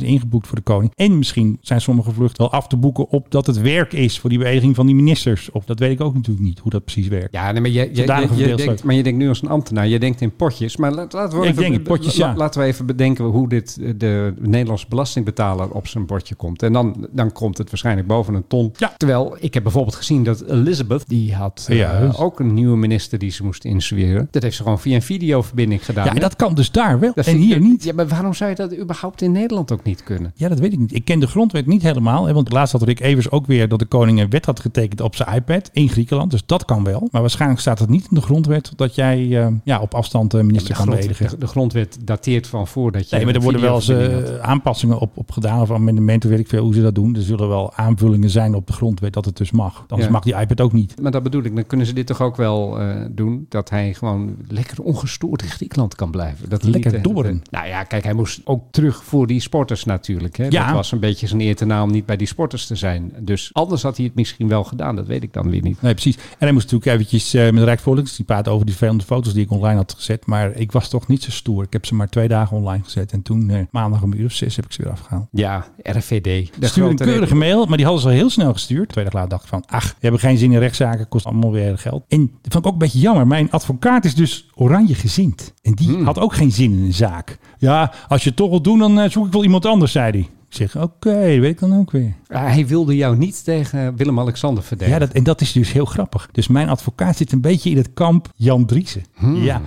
S3: 860.000 ingeboekt voor de koning. En misschien zijn sommige vluchten wel af te boeken... op dat het werk is voor die beweging van die ministers. Of dat weet ik ook natuurlijk niet, hoe dat precies werkt.
S5: Ja, nee, maar, je, je,
S3: Zodanig
S5: je- je,
S3: verdeeld
S5: denkt,
S3: zo.
S5: maar je denkt nu als een ambtenaar, je denkt in potjes. Maar laat- laten we,
S3: Ik
S5: even,
S3: denk in potjes,
S5: la-
S3: ja.
S5: laten we even bedenken hoe dit eh, de Nederlandse belastingbetaler op zijn bordje komt. En dan, dan komt het waarschijnlijk boven een ton.
S3: Ja.
S5: Terwijl ik heb bijvoorbeeld gezien dat Elizabeth, die had eh,
S3: Ja, dus-
S5: ook een nieuwe minister die ze moest instrueren. Dat heeft ze gewoon via een videoverbinding gedaan.
S3: Ja, en
S5: hè?
S3: dat kan dus daar wel
S5: Dat
S3: en
S5: vind
S3: hier
S5: ik-
S3: niet.
S5: Ja, maar waarom zou je dat überhaupt in Nederland ook niet kunnen?
S3: Ja, dat weet ik niet. Ik ken de grondwet niet helemaal. Hè, want laatst had Rick Evers ook weer dat de koning een wet had getekend op zijn iPad in Griekenland. Dus dat kan wel. Maar waarschijnlijk staat het niet in de grondwet dat jij eh, ja, op afstand de minister
S5: De,
S3: kan
S5: grond-
S3: beëdigen.
S5: de, de grondwet dateert van voordat je.
S3: Nee, maar er
S5: een
S3: worden wel eens
S5: videoverbinding had.
S3: eh, aanpassingen op, op gedaan of amendementen, weet ik veel hoe ze dat doen. Er zullen wel aanvullingen zijn op de grondwet dat het dus mag. Anders
S5: Ja.
S3: mag die iPad ook niet.
S5: Maar dat bedoel ik, dan kunnen ze dit toch ook wel eh, doen? Dat hij gewoon lekker ongestoord in Griekenland kan blijven. Dat hij
S3: Lekker
S5: niet, eh,
S3: dobberen.
S5: nou ja, kijk, hij moest ook terug voor die sporters natuurlijk. Hè?
S3: Ja.
S5: Dat was een beetje zijn eer te na om niet bij die sporters te zijn. Dus anders had hij het misschien wel gedaan, dat weet ik dan weer niet.
S3: Nee, precies. En hij moest natuurlijk eventjes eh, met de Rijksvoorlichting praten over die 200 foto's die ik online had gezet. Maar ik was toch niet zo stoer. Ik heb ze maar twee dagen online gezet. En toen, eh, maandag om een uur of zes, heb ik ze weer afgehaald.
S5: Ja, RVD.
S3: De stuurde een keurige mail, maar die hadden ze al heel snel gestuurd. Twee dagen later dacht ik van, ach, we hebben geen zin in rechtszaken, kost allemaal weer geld. En dat vond ik ook een beetje jammer. Mijn advocaat is dus oranje gezind. En die had ook geen zin in een zaak. Ja, als je het toch wilt doen, dan eh, zoek ik wel iemand anders, zei hij. Ik zeg, oké, weet ik dan ook weer.
S5: Ah, Hij wilde jou niet tegen Willem-Alexander verdedigen.
S3: Ja, dat, en dat is dus heel grappig. Dus mijn advocaat zit een beetje in het kamp Jan Driessen.
S5: Hmm.
S3: Ja,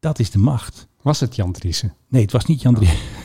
S3: dat is de macht.
S5: Was het Jan Driessen?
S3: Nee, het was niet Jan Driessen. [LAUGHS]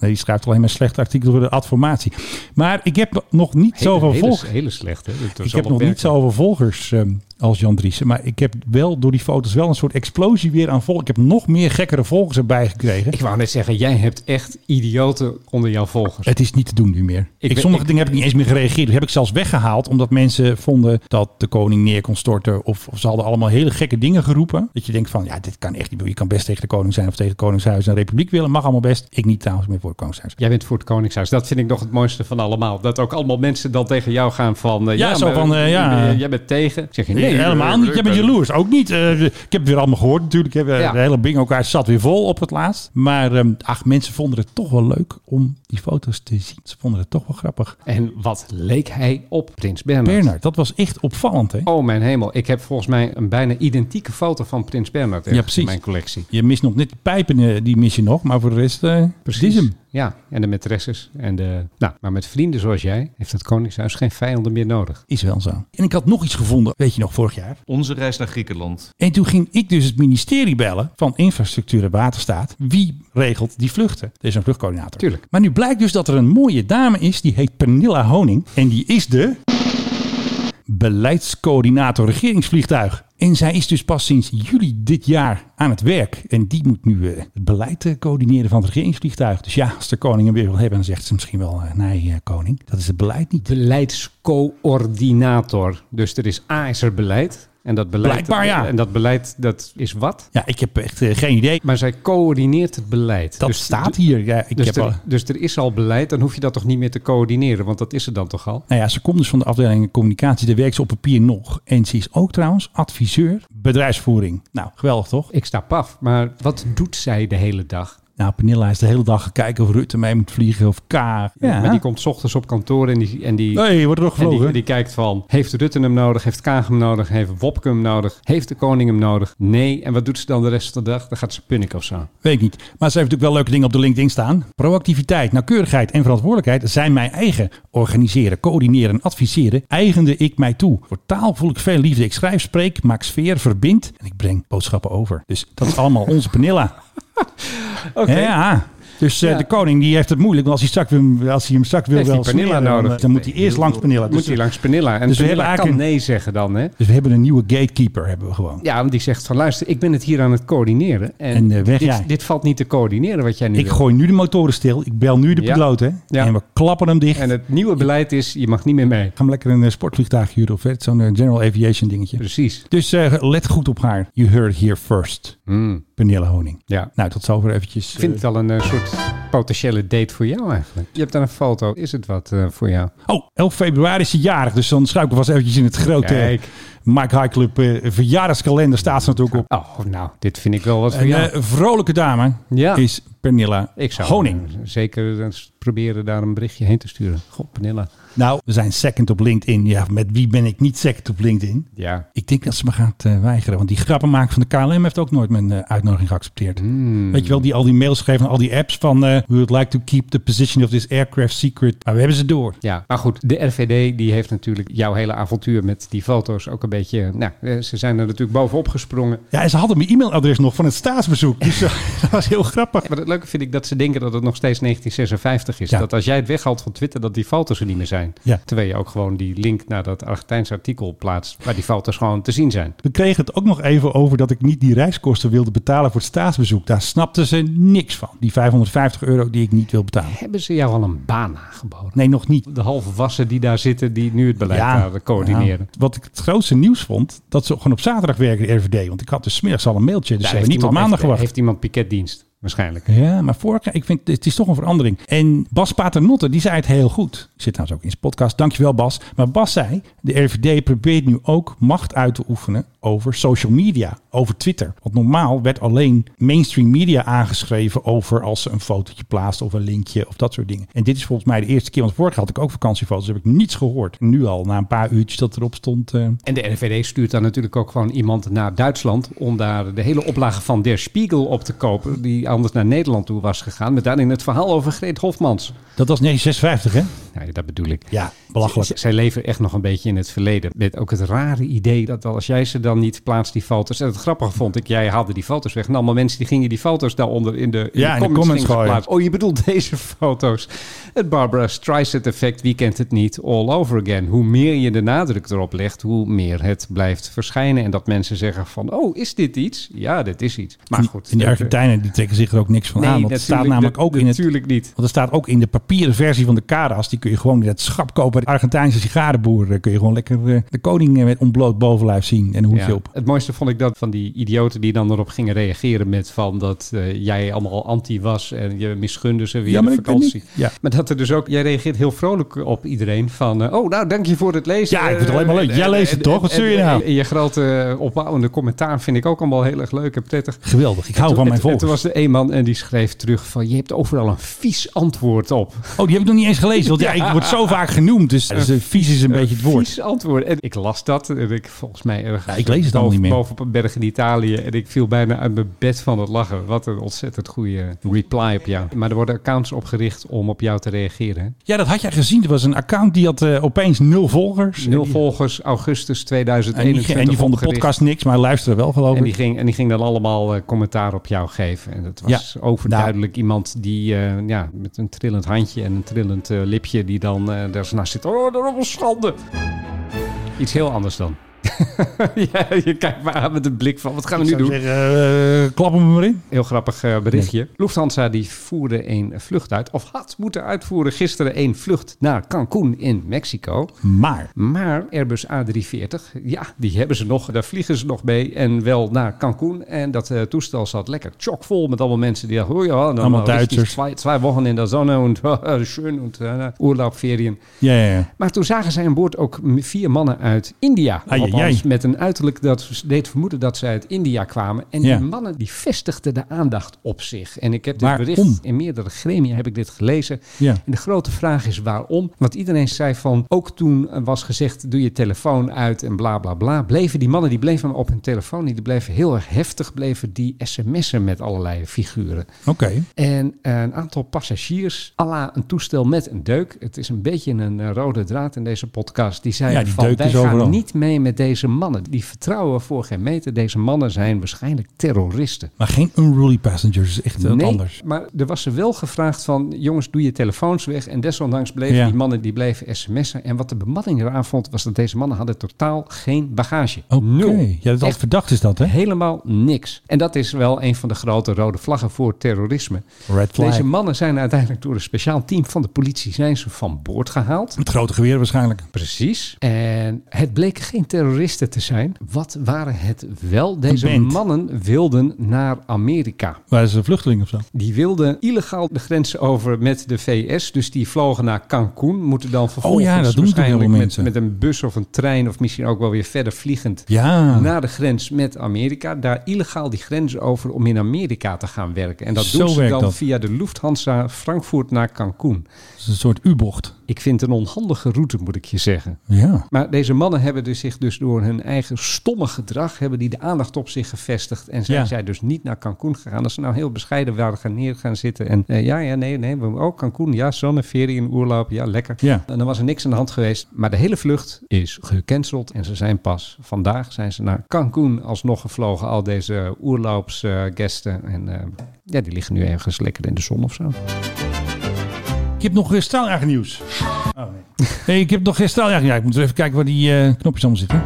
S3: Nee, die schrijft alleen maar slechte artikelen voor de adformatie. Maar ik heb nog niet zoveel
S5: hele,
S3: volg.
S5: Hele slecht, hè? Dat was
S3: Ik heb
S5: allemaal
S3: nog niet
S5: werken.
S3: zoveel volgers ehm, als Jan Driessen. Maar ik heb wel door die foto's wel een soort explosie weer aan volgers. Ik heb nog meer gekkere volgers erbij gekregen.
S5: Ik wou net zeggen, jij hebt echt idioten onder jouw volgers.
S3: het is niet te doen nu meer. Ik
S5: weet-
S3: sommige
S5: ik-
S3: dingen heb ik niet eens meer gereageerd. Die heb ik zelfs weggehaald. Omdat mensen vonden dat de koning neer kon storten. Of, of ze hadden allemaal hele gekke dingen geroepen. Dat je denkt van, ja, dit kan echt niet. Je kan best tegen de koning zijn. Of tegen het koningshuis en republiek willen. Mag allemaal best. Ik niet trouwens meer voor het koningshuis.
S5: Jij bent voor het Koningshuis. Dat vind ik nog het mooiste van allemaal. Dat ook allemaal mensen dan tegen jou gaan van... eh,
S3: Ja, zo
S5: maar,
S3: van, eh,
S5: eh,
S3: ja.
S5: Jij bent tegen. Ik Zeg je, nee, eh,
S3: Nee, helemaal niet. Jij bent jaloers. Ook niet. Eh, ik heb het weer allemaal gehoord natuurlijk. hè. We-
S5: Ja.
S3: De hele bingo kaart zat weer vol op het laatst. Maar ehm, ach, mensen vonden het toch wel leuk om die foto's te zien. Ze vonden het toch wel grappig.
S5: En wat leek hij op Prins Bernhard.
S3: Bernard, dat was echt opvallend hè.
S5: Oh mijn hemel, ik heb volgens mij een bijna identieke foto van Prins Bernhard
S3: Ja,
S5: ergens
S3: precies.
S5: in mijn collectie.
S3: Je mist nog net de pijpen, eh, die mis je nog. Maar voor de rest, eh dit is hem.
S5: Ja, en de maîtresses. En de, nou, maar met vrienden zoals jij heeft het Koningshuis geen vijanden meer nodig.
S3: Is wel zo. En ik had nog iets gevonden, weet je nog, vorig jaar.
S11: Onze reis naar Griekenland.
S3: En toen ging ik dus het ministerie bellen van Infrastructuur en Waterstaat. Wie regelt die vluchten? Er is een vluchtcoördinator.
S5: Tuurlijk.
S3: Maar nu blijkt dus dat er een mooie dame is, die heet Pernilla Honing. En die is de beleidscoördinator regeringsvliegtuig. En zij is dus pas sinds juli dit jaar aan het werk. En die moet nu eh, het beleid eh, coördineren van het regeringsvliegtuig. Dus ja, als de koning hem weer wil hebben, dan zegt ze misschien wel... eh, nee, eh, koning, dat is het beleid niet.
S5: Beleidscoördinator. Dus er is A is er beleid. En dat beleid,
S3: Blijkbaar, ja.
S5: En dat beleid, dat is wat?
S3: Ja, ik heb echt eh, geen idee.
S5: Maar zij coördineert het beleid.
S3: Dat
S5: Dus-
S3: staat hier. Ja, ik
S5: Dus
S3: heb al...
S5: er, dus er is al beleid, dan hoef je dat toch niet meer te coördineren, want dat is er dan toch al?
S3: Nou ja, ze komt dus van de afdeling communicatie. Daar werkt ze op papier nog. En ze is ook trouwens adviseur bedrijfsvoering. Nou, geweldig toch?
S5: Ik sta paf, maar wat doet zij de hele dag?
S3: Nou, Pernilla is de hele dag gaan kijken of Rutte mee moet vliegen of Kaag. Ja.
S5: Maar die komt 's ochtends op kantoor en die, en die,
S3: Nee, wordt er nog
S5: en die,
S3: gevlogen.
S5: en die kijkt van, heeft Rutte hem nodig? Heeft Kaag hem nodig? Heeft Wopke hem nodig? Heeft de koning hem nodig? Nee. En wat doet ze dan de rest van de dag? Dan gaat ze punniken of zo.
S3: Weet ik niet. Maar ze heeft natuurlijk wel leuke dingen op de LinkedIn staan. Proactiviteit, nauwkeurigheid en verantwoordelijkheid zijn mijn eigen. Organiseren, coördineren en adviseren eigende ik mij toe. Voor taal voel ik veel liefde. Ik schrijf, spreek, maak sfeer, verbind en ik breng boodschappen over. Dus dat is allemaal onze Pernilla.
S5: [LAUGHS]
S3: Ja. Dus eh,
S5: Ja.
S3: de koning die heeft het moeilijk. Want als hij, straks, wil- als hij hem straks wil
S5: Heeft
S3: wel
S5: hij Pernilla
S3: smeren, dan,
S5: nodig?
S3: eh, Dan moet hij eerst langs Pernilla. Dus,
S5: moet hij langs Pernilla. En
S3: dus we
S5: Pernilla
S3: hebben
S5: kan
S3: eigenlijk
S5: nee zeggen dan, hè?
S3: dus we hebben een nieuwe gatekeeper hebben we gewoon.
S5: Ja, want die zegt van, luister, ik ben het hier aan het coördineren. En,
S3: En, eh, weg
S5: dit,
S3: jij.
S5: dit valt niet te coördineren wat jij nu
S3: Ik
S5: wil.
S3: gooi nu de motoren stil. Ik bel nu de
S5: Ja.
S3: piloot. Hè?
S5: Ja.
S3: En we klappen hem dicht.
S5: En het nieuwe beleid is, je mag niet meer mee.
S3: Gaan we lekker een eh, sportvliegtuig huren of hè, zo'n eh, general aviation dingetje.
S5: Precies.
S3: Dus eh, let goed op haar. You heard it here first. Pernille Honing.
S5: Hmm. Ja.
S3: Nou, tot zover eventjes.
S5: Ik vind het al een eh, soort potentiële date voor jou eigenlijk. Je hebt daar een foto. Is het wat eh, voor jou?
S3: eh, oh, 11 februari is ze jarig. Dus dan schuik ik vast eventjes in het grote eh,
S5: Kijk.
S3: Mike High Club eh, verjaardagskalender. Staat ze natuurlijk op.
S5: Oh, nou, dit vind ik wel wat voor
S3: Een
S5: jou.
S3: eh, vrolijke dame
S5: Ja.
S3: is Pernilla
S5: ik zou
S3: Honing.
S5: eh, zeker eens proberen daar een berichtje heen te sturen. God, Pernilla.
S3: Nou, we zijn second op LinkedIn. Ja, met wie ben ik niet second op LinkedIn?
S5: Ja.
S3: Ik denk dat ze me gaat eh, weigeren. Want die grappen maken van de KLM heeft ook nooit mijn eh, uitnodiging geaccepteerd.
S5: Hmm.
S3: Weet je wel, die al die mails schreven en al die apps van... eh, we would like to keep the position of this aircraft secret. Maar we hebben ze door.
S5: Ja, maar goed, de RVD die heeft natuurlijk jouw hele avontuur met die foto's ook een beetje... eh, Nou, eh, ze zijn er natuurlijk bovenop gesprongen.
S3: Ja, en ze hadden mijn e-mailadres nog van het staatsbezoek.
S5: [LAUGHS]
S3: Dus eh, dat was heel grappig.
S5: Maar het leuke vind ik dat ze denken dat het nog steeds 1956 is.
S3: Ja.
S5: Dat als jij het weghaalt van Twitter, dat die foto's er niet meer zijn.
S3: Ja.
S5: Terwijl je ook gewoon die link naar dat Argentijnse artikel plaatst, waar die foto's gewoon te zien zijn.
S3: We kregen het ook nog even over dat ik niet die reiskosten wilde betalen voor het staatsbezoek. Daar snapten ze niks van. Die 550 euro die ik niet wil betalen.
S5: Hebben ze jou al een baan aangeboden?
S3: Nee, nog niet.
S5: De halfwassen die daar zitten, die nu het beleid gaan coördineren.
S3: ja. Wat ik het grootste nieuws vond, dat ze gewoon op zaterdag werken, de RVD. Want ik had dus 's middags al een mailtje, dus
S5: Daar
S3: ze hebben niet tot
S5: iemand-
S3: maandag
S5: heeft,
S3: gewacht.
S5: Heeft iemand piketdienst, waarschijnlijk.
S3: Ja, maar vorig jaar, ik vind, het is toch een verandering. En Bas Paternotte, die zei het heel goed. Ik zit trouwens ook in zijn podcast. Dankjewel Bas. Maar Bas zei, de RVD probeert nu ook macht uit te oefenen over social media, over Twitter. Want normaal werd alleen mainstream media aangeschreven over als ze een fotootje plaatst of een linkje of dat soort dingen. En dit is volgens mij de eerste keer, want vorig jaar had ik ook vakantiefoto's, heb ik niets gehoord. Nu al, na een paar uurtjes dat erop stond... eh,
S5: En de RVD stuurt dan natuurlijk ook gewoon iemand naar Duitsland om daar de hele oplage van Der Spiegel op te kopen, die anders naar Nederland toe was gegaan, met daarin het verhaal over Greet Hofmans.
S3: Dat was 1956, hè?
S5: Nou, ja, dat bedoel ik.
S3: Ja, belachelijk.
S5: Z- Zij leven echt nog een beetje in het verleden. Met ook het rare idee dat als jij ze dan niet plaatst, die foto's. En het grappige vond ik, jij haalde die foto's weg. En allemaal mensen die gingen die foto's daaronder in de, in
S3: Ja,
S5: de
S3: in de
S5: comments,
S3: comments
S5: gingen
S3: gooien.
S5: plaatsen. Oh, je bedoelt [LAUGHS] deze foto's. Het Barbara Streisand effect, wie kent het niet? All over again. Hoe meer je de nadruk erop legt, hoe meer het blijft verschijnen. En dat mensen zeggen van, oh, is dit iets? Ja, dit is iets. Maar goed.
S3: En de
S5: dat-
S3: Argentijnen die trekken zich er ook niks van
S5: Nee,
S3: aan. Want het staat
S5: natuurlijk,
S3: namelijk
S5: dat-
S3: ook in het...
S5: natuurlijk niet.
S3: Want er staat ook in de papieren versie van de Caras. Die kun je gewoon in het schap kopen. De Argentijnse sigarenboer eh, kun je gewoon lekker eh, de koning eh, met ontbloot bovenlijf zien. En hoe
S5: Ja.
S3: je op.
S5: Het mooiste vond ik dat van die idioten die dan erop gingen reageren met van dat eh, jij allemaal anti was en je misgunde ze weer
S3: Ja, maar
S5: de
S3: ik ben
S5: vakantie.
S3: niet- ja.
S5: Maar dat er dus ook, jij reageert heel vrolijk op iedereen van, eh, oh nou dank je voor het lezen.
S3: Ja, ik vind het
S5: Eh,
S3: alleen maar leuk.
S5: en-
S3: Jij leest het
S5: en-
S3: toch? Wat
S5: en-
S3: zeur je
S5: en-
S3: nou?
S5: en je grote opbouwende commentaar vind ik ook allemaal heel erg leuk en prettig.
S3: Geweldig. Ik hou van mijn
S5: En- en Toen
S3: volgers.
S5: was er een man en die schreef terug van, je hebt overal een vies antwoord op.
S3: Oh, die heb ik nog niet eens gelezen. Want ja, ik word zo vaak genoemd. Dus, dus eh, vies is een beetje het woord.
S5: Vies antwoord. En ik las dat. En ik volgens mij erg.
S3: Ja, ik lees het allemaal
S5: boven-
S3: niet meer.
S5: Boven op een berg in Italië. En ik viel bijna uit mijn bed van het lachen. Wat een ontzettend goede reply op jou. Maar er worden accounts opgericht om op jou te reageren. hè?
S3: Ja, dat had jij gezien. Er was een account die had eh, opeens nul volgers.
S5: Nul
S3: En die-
S5: volgers, augustus
S3: En
S5: 2021.
S3: die, en die vond de
S5: opgericht.
S3: podcast niks, maar luisteren wel geloof ik.
S5: En die, ging, en die ging dan allemaal eh, commentaar op jou geven. En dat was overduidelijk
S3: nou.
S5: iemand die eh, ja, met een trillend handje en een trillend eh, lipje... die dan eh, daar naast zit. Oh, dat is een schande. Iets heel anders dan. [LAUGHS] ja, je kijkt me aan met een blik van, wat gaan we nu
S3: Ik
S5: doen?
S3: zou zeggen, eh, klap hem maar in.
S5: Heel grappig eh, berichtje. Lufthansa die voerde een vlucht uit, of had moeten uitvoeren gisteren een vlucht naar Cancún in Mexico.
S3: Maar
S5: Maar Airbus A340, ja, die hebben ze nog. Daar vliegen ze nog mee. En wel naar Cancún. En dat eh, toestel zat lekker chockvol met allemaal mensen die dachten... Oh ja, dan
S3: Allemaal
S5: richtig
S3: Duitsers.
S5: Twee, twee wochen in de zon en [LAUGHS] eh, schön en eh, Urlaubferien.
S3: ja, ja, ja.
S5: Maar toen zagen zij aan boord ook m- vier mannen uit India.
S3: Ai, ai,
S5: Althans,
S3: ai.
S5: met een uiterlijk dat deed vermoeden dat zij uit India kwamen. En
S3: Ja.
S5: die mannen die vestigden de aandacht op zich. En ik heb dit
S3: Waarom?
S5: bericht in meerdere gremia heb ik dit gelezen.
S3: Ja.
S5: En de grote vraag is waarom? Want iedereen zei van, ook toen eh, was gezegd, doe je telefoon uit en bla bla bla. Bleven die mannen, die bleven maar op hun telefoon. Die bleven heel erg heftig, bleven die sms'en met allerlei figuren.
S3: Oké.
S5: En een aantal passagiers, à la een toestel met een deuk. Het is een beetje een eh, rode draad in deze podcast. Die zeiden
S3: Ja, die
S5: van,
S3: deuk
S5: wij
S3: is
S5: gaan
S3: overal.
S5: niet mee met deze mannen. Die vertrouwen voor geen meter. Deze mannen zijn waarschijnlijk terroristen.
S3: Maar geen unruly passengers. Echt wat anders.
S5: maar er was ze wel gevraagd van... jongens, doe je telefoons weg. En desondanks bleven
S3: Ja.
S5: die mannen die bleven sms'en. En wat de bemanning eraan vond... was dat deze mannen hadden totaal geen bagage.
S3: Oké.
S5: Nul.
S3: Ja, dat is altijd
S5: Echt
S3: verdacht is dat, hè?
S5: Helemaal niks. En dat is wel een van de grote rode vlaggen voor terrorisme.
S3: Red flag.
S5: Deze mannen zijn uiteindelijk door een speciaal team van de politie zijn ze van boord gehaald.
S3: Met grote geweer waarschijnlijk.
S5: Precies. En het bleken geen terroristen te zijn. Wat waren het wel? Deze
S3: band.
S5: mannen wilden naar Amerika.
S3: Waren ze vluchtelingen of zo?
S5: Die wilden illegaal de grens over met de VS. Dus die vlogen naar Cancún. Moeten dan vervolgens
S3: Oh ja, dat doen natuurlijk
S5: waarschijnlijk
S3: heel veel
S5: met,
S3: mensen.
S5: met een bus of een trein... of misschien ook wel weer verder vliegend
S3: Ja.
S5: naar de grens met Amerika. Daar illegaal die grens over om in Amerika te gaan werken. En dat
S3: Zo
S5: doen ze
S3: werkt
S5: dan
S3: dat.
S5: via de Lufthansa Frankfurt naar Cancún.
S3: Dat is een soort U-bocht.
S5: Ik vind het een onhandige route, moet ik je zeggen.
S3: Ja.
S5: Maar deze mannen hebben dus zich dus door hun eigen stomme gedrag... hebben die de aandacht op zich gevestigd. En zijn
S3: Ja.
S5: zij dus niet naar Cancún gegaan. Als ze nou heel bescheiden waren gaan neer gaan zitten. En eh, ja, ja, nee, nee. we- Oh, Cancún, ja, zonneferien, oerloop, ja, lekker.
S3: Ja.
S5: En dan was er niks aan de hand geweest. Maar de hele vlucht is gecanceld. En ze zijn pas vandaag zijn ze naar Cancún alsnog gevlogen. Al deze oerloopsgasten. en eh, ja, die liggen nu ergens lekker in de zon of zo.
S3: Ik heb nog eh, straaljager nieuws. Oh, nee. nee, ik heb nog geen straaljager. Ja, ik moet eens even kijken waar die eh, knopjes allemaal zitten.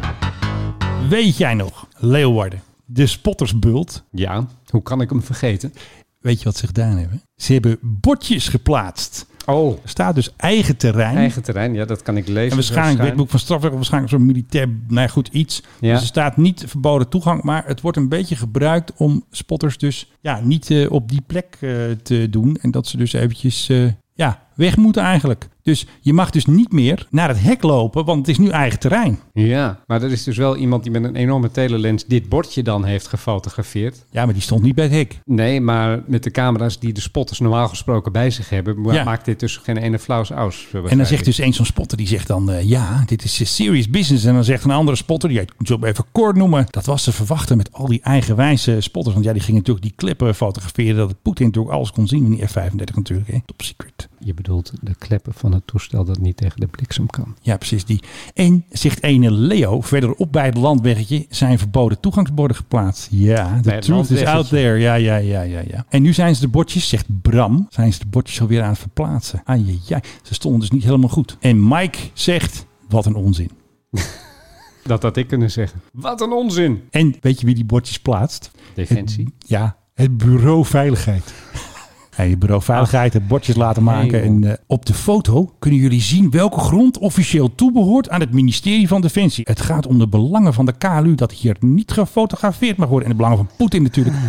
S3: Weet jij nog, Leeuwarden, de spottersbult.
S5: Ja, hoe kan ik hem vergeten?
S3: Weet je wat ze gedaan hebben? Ze hebben bordjes geplaatst.
S5: Oh,
S3: Er staat dus eigen terrein.
S5: eigen terrein. Ja, dat kan ik lezen.
S3: en waarschijnlijk
S5: Zou zijn.
S3: wetboek van strafrecht, of waarschijnlijk zo'n militair, nou ja, goed, iets.
S5: Ja.
S3: Dus er staat niet verboden toegang, maar het wordt een beetje gebruikt om spotters dus ja, niet eh, op die plek eh, te doen. En dat ze dus eventjes eh, ja, weg moeten eigenlijk. Dus je mag dus niet meer naar het hek lopen, want het is nu eigen terrein.
S5: Ja, maar er is dus wel iemand die met een enorme telelens dit bordje dan heeft gefotografeerd.
S3: Ja, maar die stond niet bij het hek.
S5: Nee, maar met de camera's die de spotters normaal gesproken bij zich hebben, ma-
S3: Ja.
S5: maakt dit dus geen ene flauws aus.
S3: En dan zegt dus eens zo'n spotter, die zegt dan, eh, ja, dit is eh, serious business. En dan zegt een andere spotter, die ik moet zo even kort noemen. Dat was te verwachten met al die eigenwijze spotters. Want ja, die gingen natuurlijk die clippen fotograferen. Dat Poetin natuurlijk alles kon zien. Die F-35 natuurlijk, hè. top secret.
S5: Je bedoelt de kleppen van het toestel dat niet tegen de bliksem kan.
S3: Ja, precies die. En, zegt ene Leo, verderop bij het landweggetje zijn verboden toegangsborden geplaatst. Ja,
S5: Bij
S3: the
S5: het
S3: truth is out
S5: landweggetje.
S3: there. Ja, ja, ja, ja, ja. En nu zijn ze de bordjes, zegt Bram, zijn ze de bordjes alweer aan het verplaatsen. Ai, ja, ze stonden dus niet helemaal goed. En Mike zegt, wat een onzin.
S5: Dat had ik kunnen zeggen. Wat een onzin!
S3: En weet je wie die bordjes plaatst?
S5: Defensie.
S3: Het- ja, het bureau
S5: [LAUGHS]
S3: veiligheid. Ja, je bureau veiligheid het bordjes laten maken.
S5: Nee,
S3: en eh, op de foto kunnen jullie zien welke grond officieel toebehoort aan het ministerie van Defensie. Het gaat om de belangen van de KLU dat hier niet gefotografeerd mag worden. En de belangen van Poetin natuurlijk.
S5: Ah.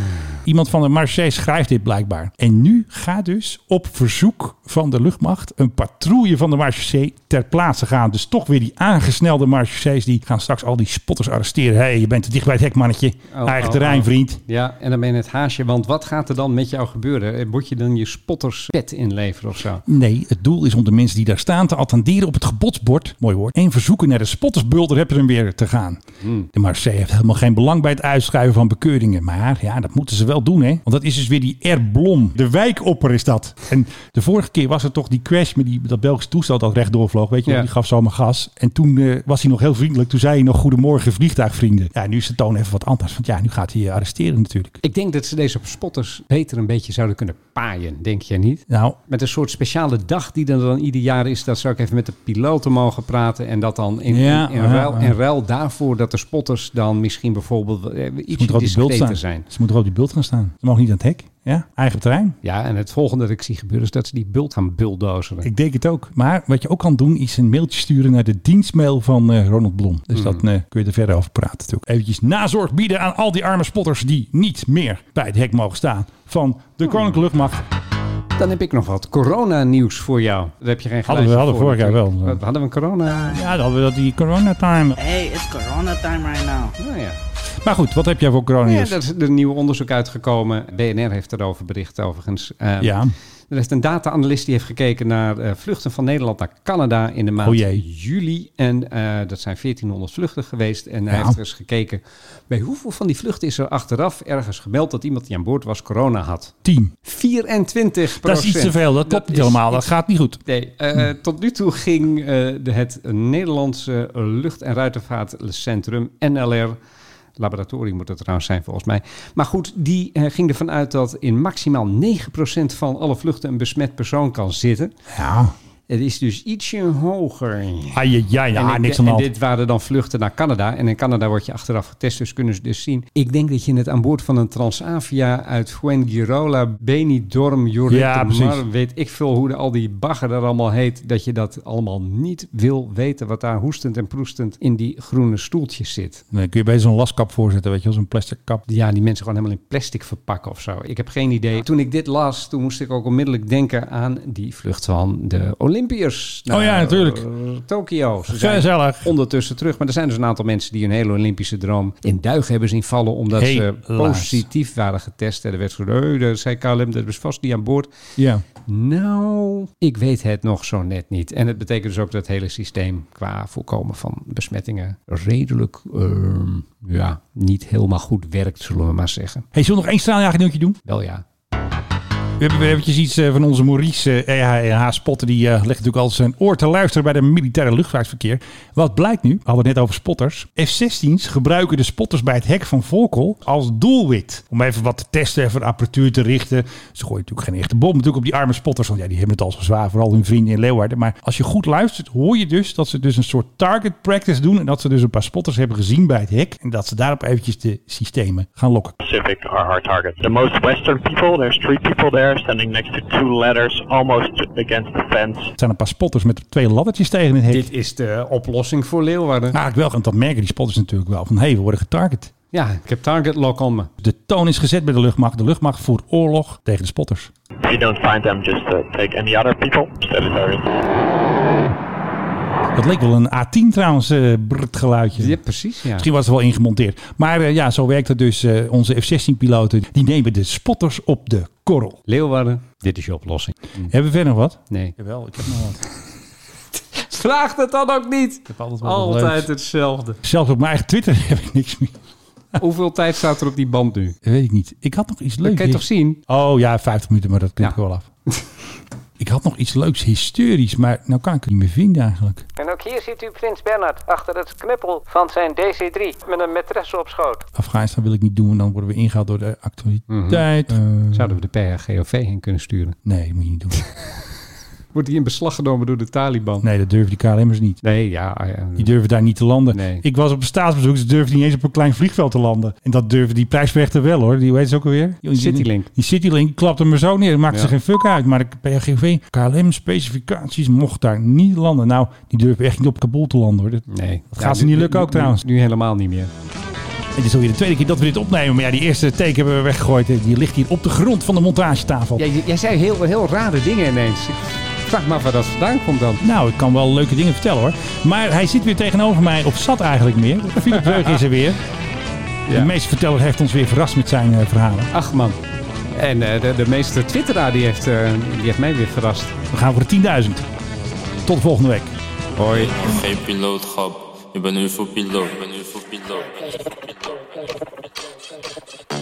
S3: Iemand van de Marseille schrijft dit blijkbaar. En nu gaat dus op verzoek van de luchtmacht een patrouille van de Marseille ter plaatse gaan. Dus toch weer die aangesnelde Marseille's die gaan straks al die spotters arresteren. Hé, hey, je bent te dicht bij het hek, mannetje.
S5: Oh,
S3: Eigen
S5: oh,
S3: terrein,
S5: oh.
S3: vriend.
S5: [LAUGHS] Ja, en dan ben je het haasje, want wat gaat er dan met jou gebeuren? Eh, Moet je dan je spotterspet inleveren of zo?
S3: Nee, het doel is om de mensen die daar staan te attenderen op het gebodsbord. Mooi woord. En verzoeken naar de spottersbulder heb je
S5: Hmm.
S3: hem weer te gaan. De Marseille heeft helemaal geen belang bij het uitschuiven van bekeuringen. Maar ja, dat moeten ze wel wel doen, hè? Want dat is dus weer die R. Blom. De wijkopper is dat. En de vorige keer was er toch die crash met die, dat Belgische toestel dat rechtdoor vloog. Weet je, wel?
S5: Ja.
S3: die gaf zomaar gas. En toen eh, was hij nog heel vriendelijk. Toen zei hij nog goedemorgen vliegtuigvrienden. Ja, nu is de toon even wat anders. Want ja, nu gaat hij je arresteren natuurlijk.
S5: Ik denk dat ze deze spotters beter een beetje zouden kunnen paaien, denk jij niet?
S3: Nou,
S5: Met een soort speciale dag die er dan ieder jaar is, dat zou ik even met de piloten mogen praten. En dat dan in,
S3: Ja,
S5: in, in
S3: ja,
S5: ruil,
S3: ja.
S5: in ruil daarvoor dat de spotters dan misschien bijvoorbeeld eh,
S3: ze moeten
S5: ietsje
S3: er op die bult
S5: discreter
S3: staan.
S5: zijn.
S3: Ze moeten er op die bult gaan staan. Ze mogen niet aan het hek. Ja, eigen terrein.
S5: Ja, en het volgende dat ik zie gebeuren is dat ze die bult gaan bulldozeren.
S3: Ik denk het ook. Maar wat je ook kan doen is een mailtje sturen naar de dienstmail van eh, Ronald Blom. Dus
S5: Hmm.
S3: dat eh, kun je er verder over praten natuurlijk. Eventjes nazorg bieden aan al die arme spotters die niet meer bij het hek mogen staan van
S5: Oh.
S3: de Koninklijke Luchtmacht.
S5: Dan heb ik nog wat coronanieuws voor jou. Daar heb je geen
S3: Hadden we-
S5: geluidje
S3: hadden we
S5: voor,
S3: vorig jaar
S5: natuurlijk.
S3: wel. eh.
S5: Wat, hadden we een corona?
S3: Ja, dan hadden we dat die coronatime.
S11: Hey, it's corona time right now.
S5: Nou ja.
S3: Maar goed, wat heb jij voor
S5: Ja,
S3: coronanieuws?
S5: er is een nieuw onderzoek uitgekomen. BNR heeft erover bericht overigens. Eh,
S3: Ja.
S5: Er is een data-analyst die heeft gekeken naar eh, vluchten van Nederland naar Canada in de maand
S3: Oh jee.
S5: juli. En eh, dat zijn 1400 vluchten geweest. En hij
S3: Ja.
S5: heeft er eens gekeken bij hoeveel van die vluchten is er achteraf ergens gemeld dat iemand die aan boord was corona had.
S3: Tien.
S5: 24
S3: Dat is iets te veel. Dat klopt niet
S5: is
S3: helemaal. Dat
S5: iets-
S3: gaat niet goed.
S5: Nee, eh, tot nu toe ging eh, de, het Nederlandse Lucht- en Ruitervaartcentrum NLR. Laboratorium moet dat trouwens zijn volgens mij. Maar goed, die eh, ging ervan uit dat in maximaal 9% van alle vluchten een besmet persoon kan zitten.
S3: Ja.
S5: Het is dus ietsje hoger.
S3: Ai, ja,
S5: En
S3: ja,
S5: ik-
S3: niks aan
S5: en
S3: de hand.
S5: dit waren dan vluchten naar Canada. En in Canada word je achteraf getest, dus kunnen ze dus zien. Ik denk dat je het aan boord van een Transavia uit Fuengirola, Benidorm,
S3: Ja,
S5: Jorrit,
S3: precies.
S5: Mar, weet ik veel hoe de, al die bagger daar allemaal heet, dat je dat allemaal niet wil weten, wat daar hoestend en proestend in die groene stoeltjes zit.
S3: Dan kun je bij zo'n laskap voorzetten, weet je wel, zo'n plastic kap.
S5: Ja, die mensen gewoon helemaal in plastic verpakken of zo. Ik heb geen idee. Toen ik dit las, toen moest ik ook onmiddellijk denken aan die vlucht van de Olympiërs.
S3: Oh ja, natuurlijk.
S5: eh, Tokio. Ze zijn
S3: Gezellig.
S5: ondertussen terug. Maar er zijn dus een aantal mensen die hun hele Olympische droom in duigen hebben zien vallen. Omdat ze
S3: Helaas.
S5: positief waren getest. En er werd gezegd, "Hey, dat zei KLM, dat was vast niet aan boord.
S3: Ja.
S5: Nou, ik weet het nog zo net niet. En het betekent dus ook dat het hele systeem qua voorkomen van besmettingen redelijk ehm, ja, niet helemaal goed werkt, zullen we maar zeggen.
S3: Hey, zullen we nog één straaljagernieuwtje doen?
S5: Wel ja.
S3: We hebben weer eventjes iets eh, van onze Maurice eh spotter Die eh, legt natuurlijk al zijn oor te luisteren bij de militaire luchtvaartverkeer. Wat blijkt nu? We hadden het net over spotters. F-16's gebruiken de spotters bij het hek van Volkel als doelwit. Om even wat te testen, even de apparatuur te richten. Ze gooien natuurlijk geen echte bom natuurlijk op die arme spotters. Want ja, die hebben het al zo zwaar. Vooral hun vrienden in Leeuwarden. Maar als je goed luistert, hoor je dus dat ze dus een soort target practice doen. En dat ze dus een paar spotters hebben gezien bij het hek. En dat ze daarop eventjes de systemen gaan lokken.
S10: Pacific are hard targets. The most Western people, there's three people there standing next to two ladders almost against the fence.
S3: Het zijn een paar spotters met twee laddertjes tegen het hek.
S5: Dit is de oplossing voor Leeuwarden.
S3: Eigenlijk wel, want dat merken die spotters natuurlijk wel. Van, hé, hey, we worden getarget.
S5: Ja, ik heb target lock on me.
S3: De toon is gezet bij de luchtmacht. De luchtmacht voert oorlog tegen de spotters.
S10: If you don't find them, just uh, take any other people. Steady target.
S3: Dat leek wel een A10 trouwens, eh brrt geluidje.
S5: Ja, precies. Ja.
S3: Misschien was het wel ingemonteerd. Maar eh, ja, zo werkt het dus. eh, onze F-16-piloten, die nemen de spotters op de korrel.
S5: Leeuwarden, dit is je oplossing.
S3: Hebben we verder nog wat?
S5: Nee.
S3: Hm. Jawel, ik heb nog wat.
S5: Vraag het dan ook niet.
S3: heb altijd wel wat
S5: Altijd
S3: leuks.
S5: hetzelfde.
S3: Zelfs op mijn eigen Twitter [LAUGHS] heb ik niks meer.
S5: [LAUGHS] Hoeveel tijd staat er op die band nu?
S3: Dat weet ik niet. Ik had nog iets leuks.
S5: Dat kan je toch zien?
S3: Oh ja, 50 minuten, maar dat knip ik
S5: Ja.
S3: wel af. [LAUGHS] ik had nog iets leuks historisch, maar nou kan ik het niet meer vinden eigenlijk.
S12: En ook hier ziet u prins Bernard achter het knippel van zijn DC-3 met een matresse op schoot.
S3: Afghanistan wil ik niet doen, want dan worden we ingehaald door de actualiteit.
S5: Mhm.
S3: Eh,
S5: Zouden we de PRGOV heen kunnen sturen?
S3: Nee, dat moet je niet doen.
S5: Wordt die in beslag genomen door de Taliban?
S3: Nee, dat durven die KLM'ers niet.
S5: Nee, ja. ah ja.
S3: Die durven daar niet te landen.
S5: Nee.
S3: Ik was op een staatsbezoek, ze durfden niet eens op een klein vliegveld te landen. En dat durven die prijsvechter wel hoor. Die weet ze ook alweer. Die-
S5: Citylink.
S3: Die Citylink klapte me zo neer. Maakte
S5: Ja.
S3: ze geen fuck uit. Maar de PRGV, KLM specificaties mocht daar niet landen. Nou, die durven echt niet op Kabul te landen hoor. Dat,
S5: Nee.
S3: dat gaat ze niet lukken ook trouwens.
S5: Nu helemaal niet meer.
S3: Het is alweer de tweede keer dat we dit opnemen. Maar ja, die eerste teken hebben we weggegooid. Die ligt hier op de grond van de montagetafel.
S5: Jij, jij zei heel, heel rare dingen ineens. Ik Vraag maar waar dat vandaan komt dan.
S3: Nou, ik kan wel leuke dingen vertellen hoor. Maar hij zit weer tegenover mij, of zat eigenlijk meer. Philip Beug is er weer. De meesterverteller heeft ons weer verrast met zijn eh, verhalen.
S5: Ach man. En eh, de, de meester twitteraar die heeft, eh, die heeft mij weer verrast.
S3: We gaan voor de 10.000. Tot volgende week.
S5: Hoi.
S2: Geen piloot, grap. Ik ben nu voor piloot. Ik ben nu voor piloot. Ik ben nu voor piloot.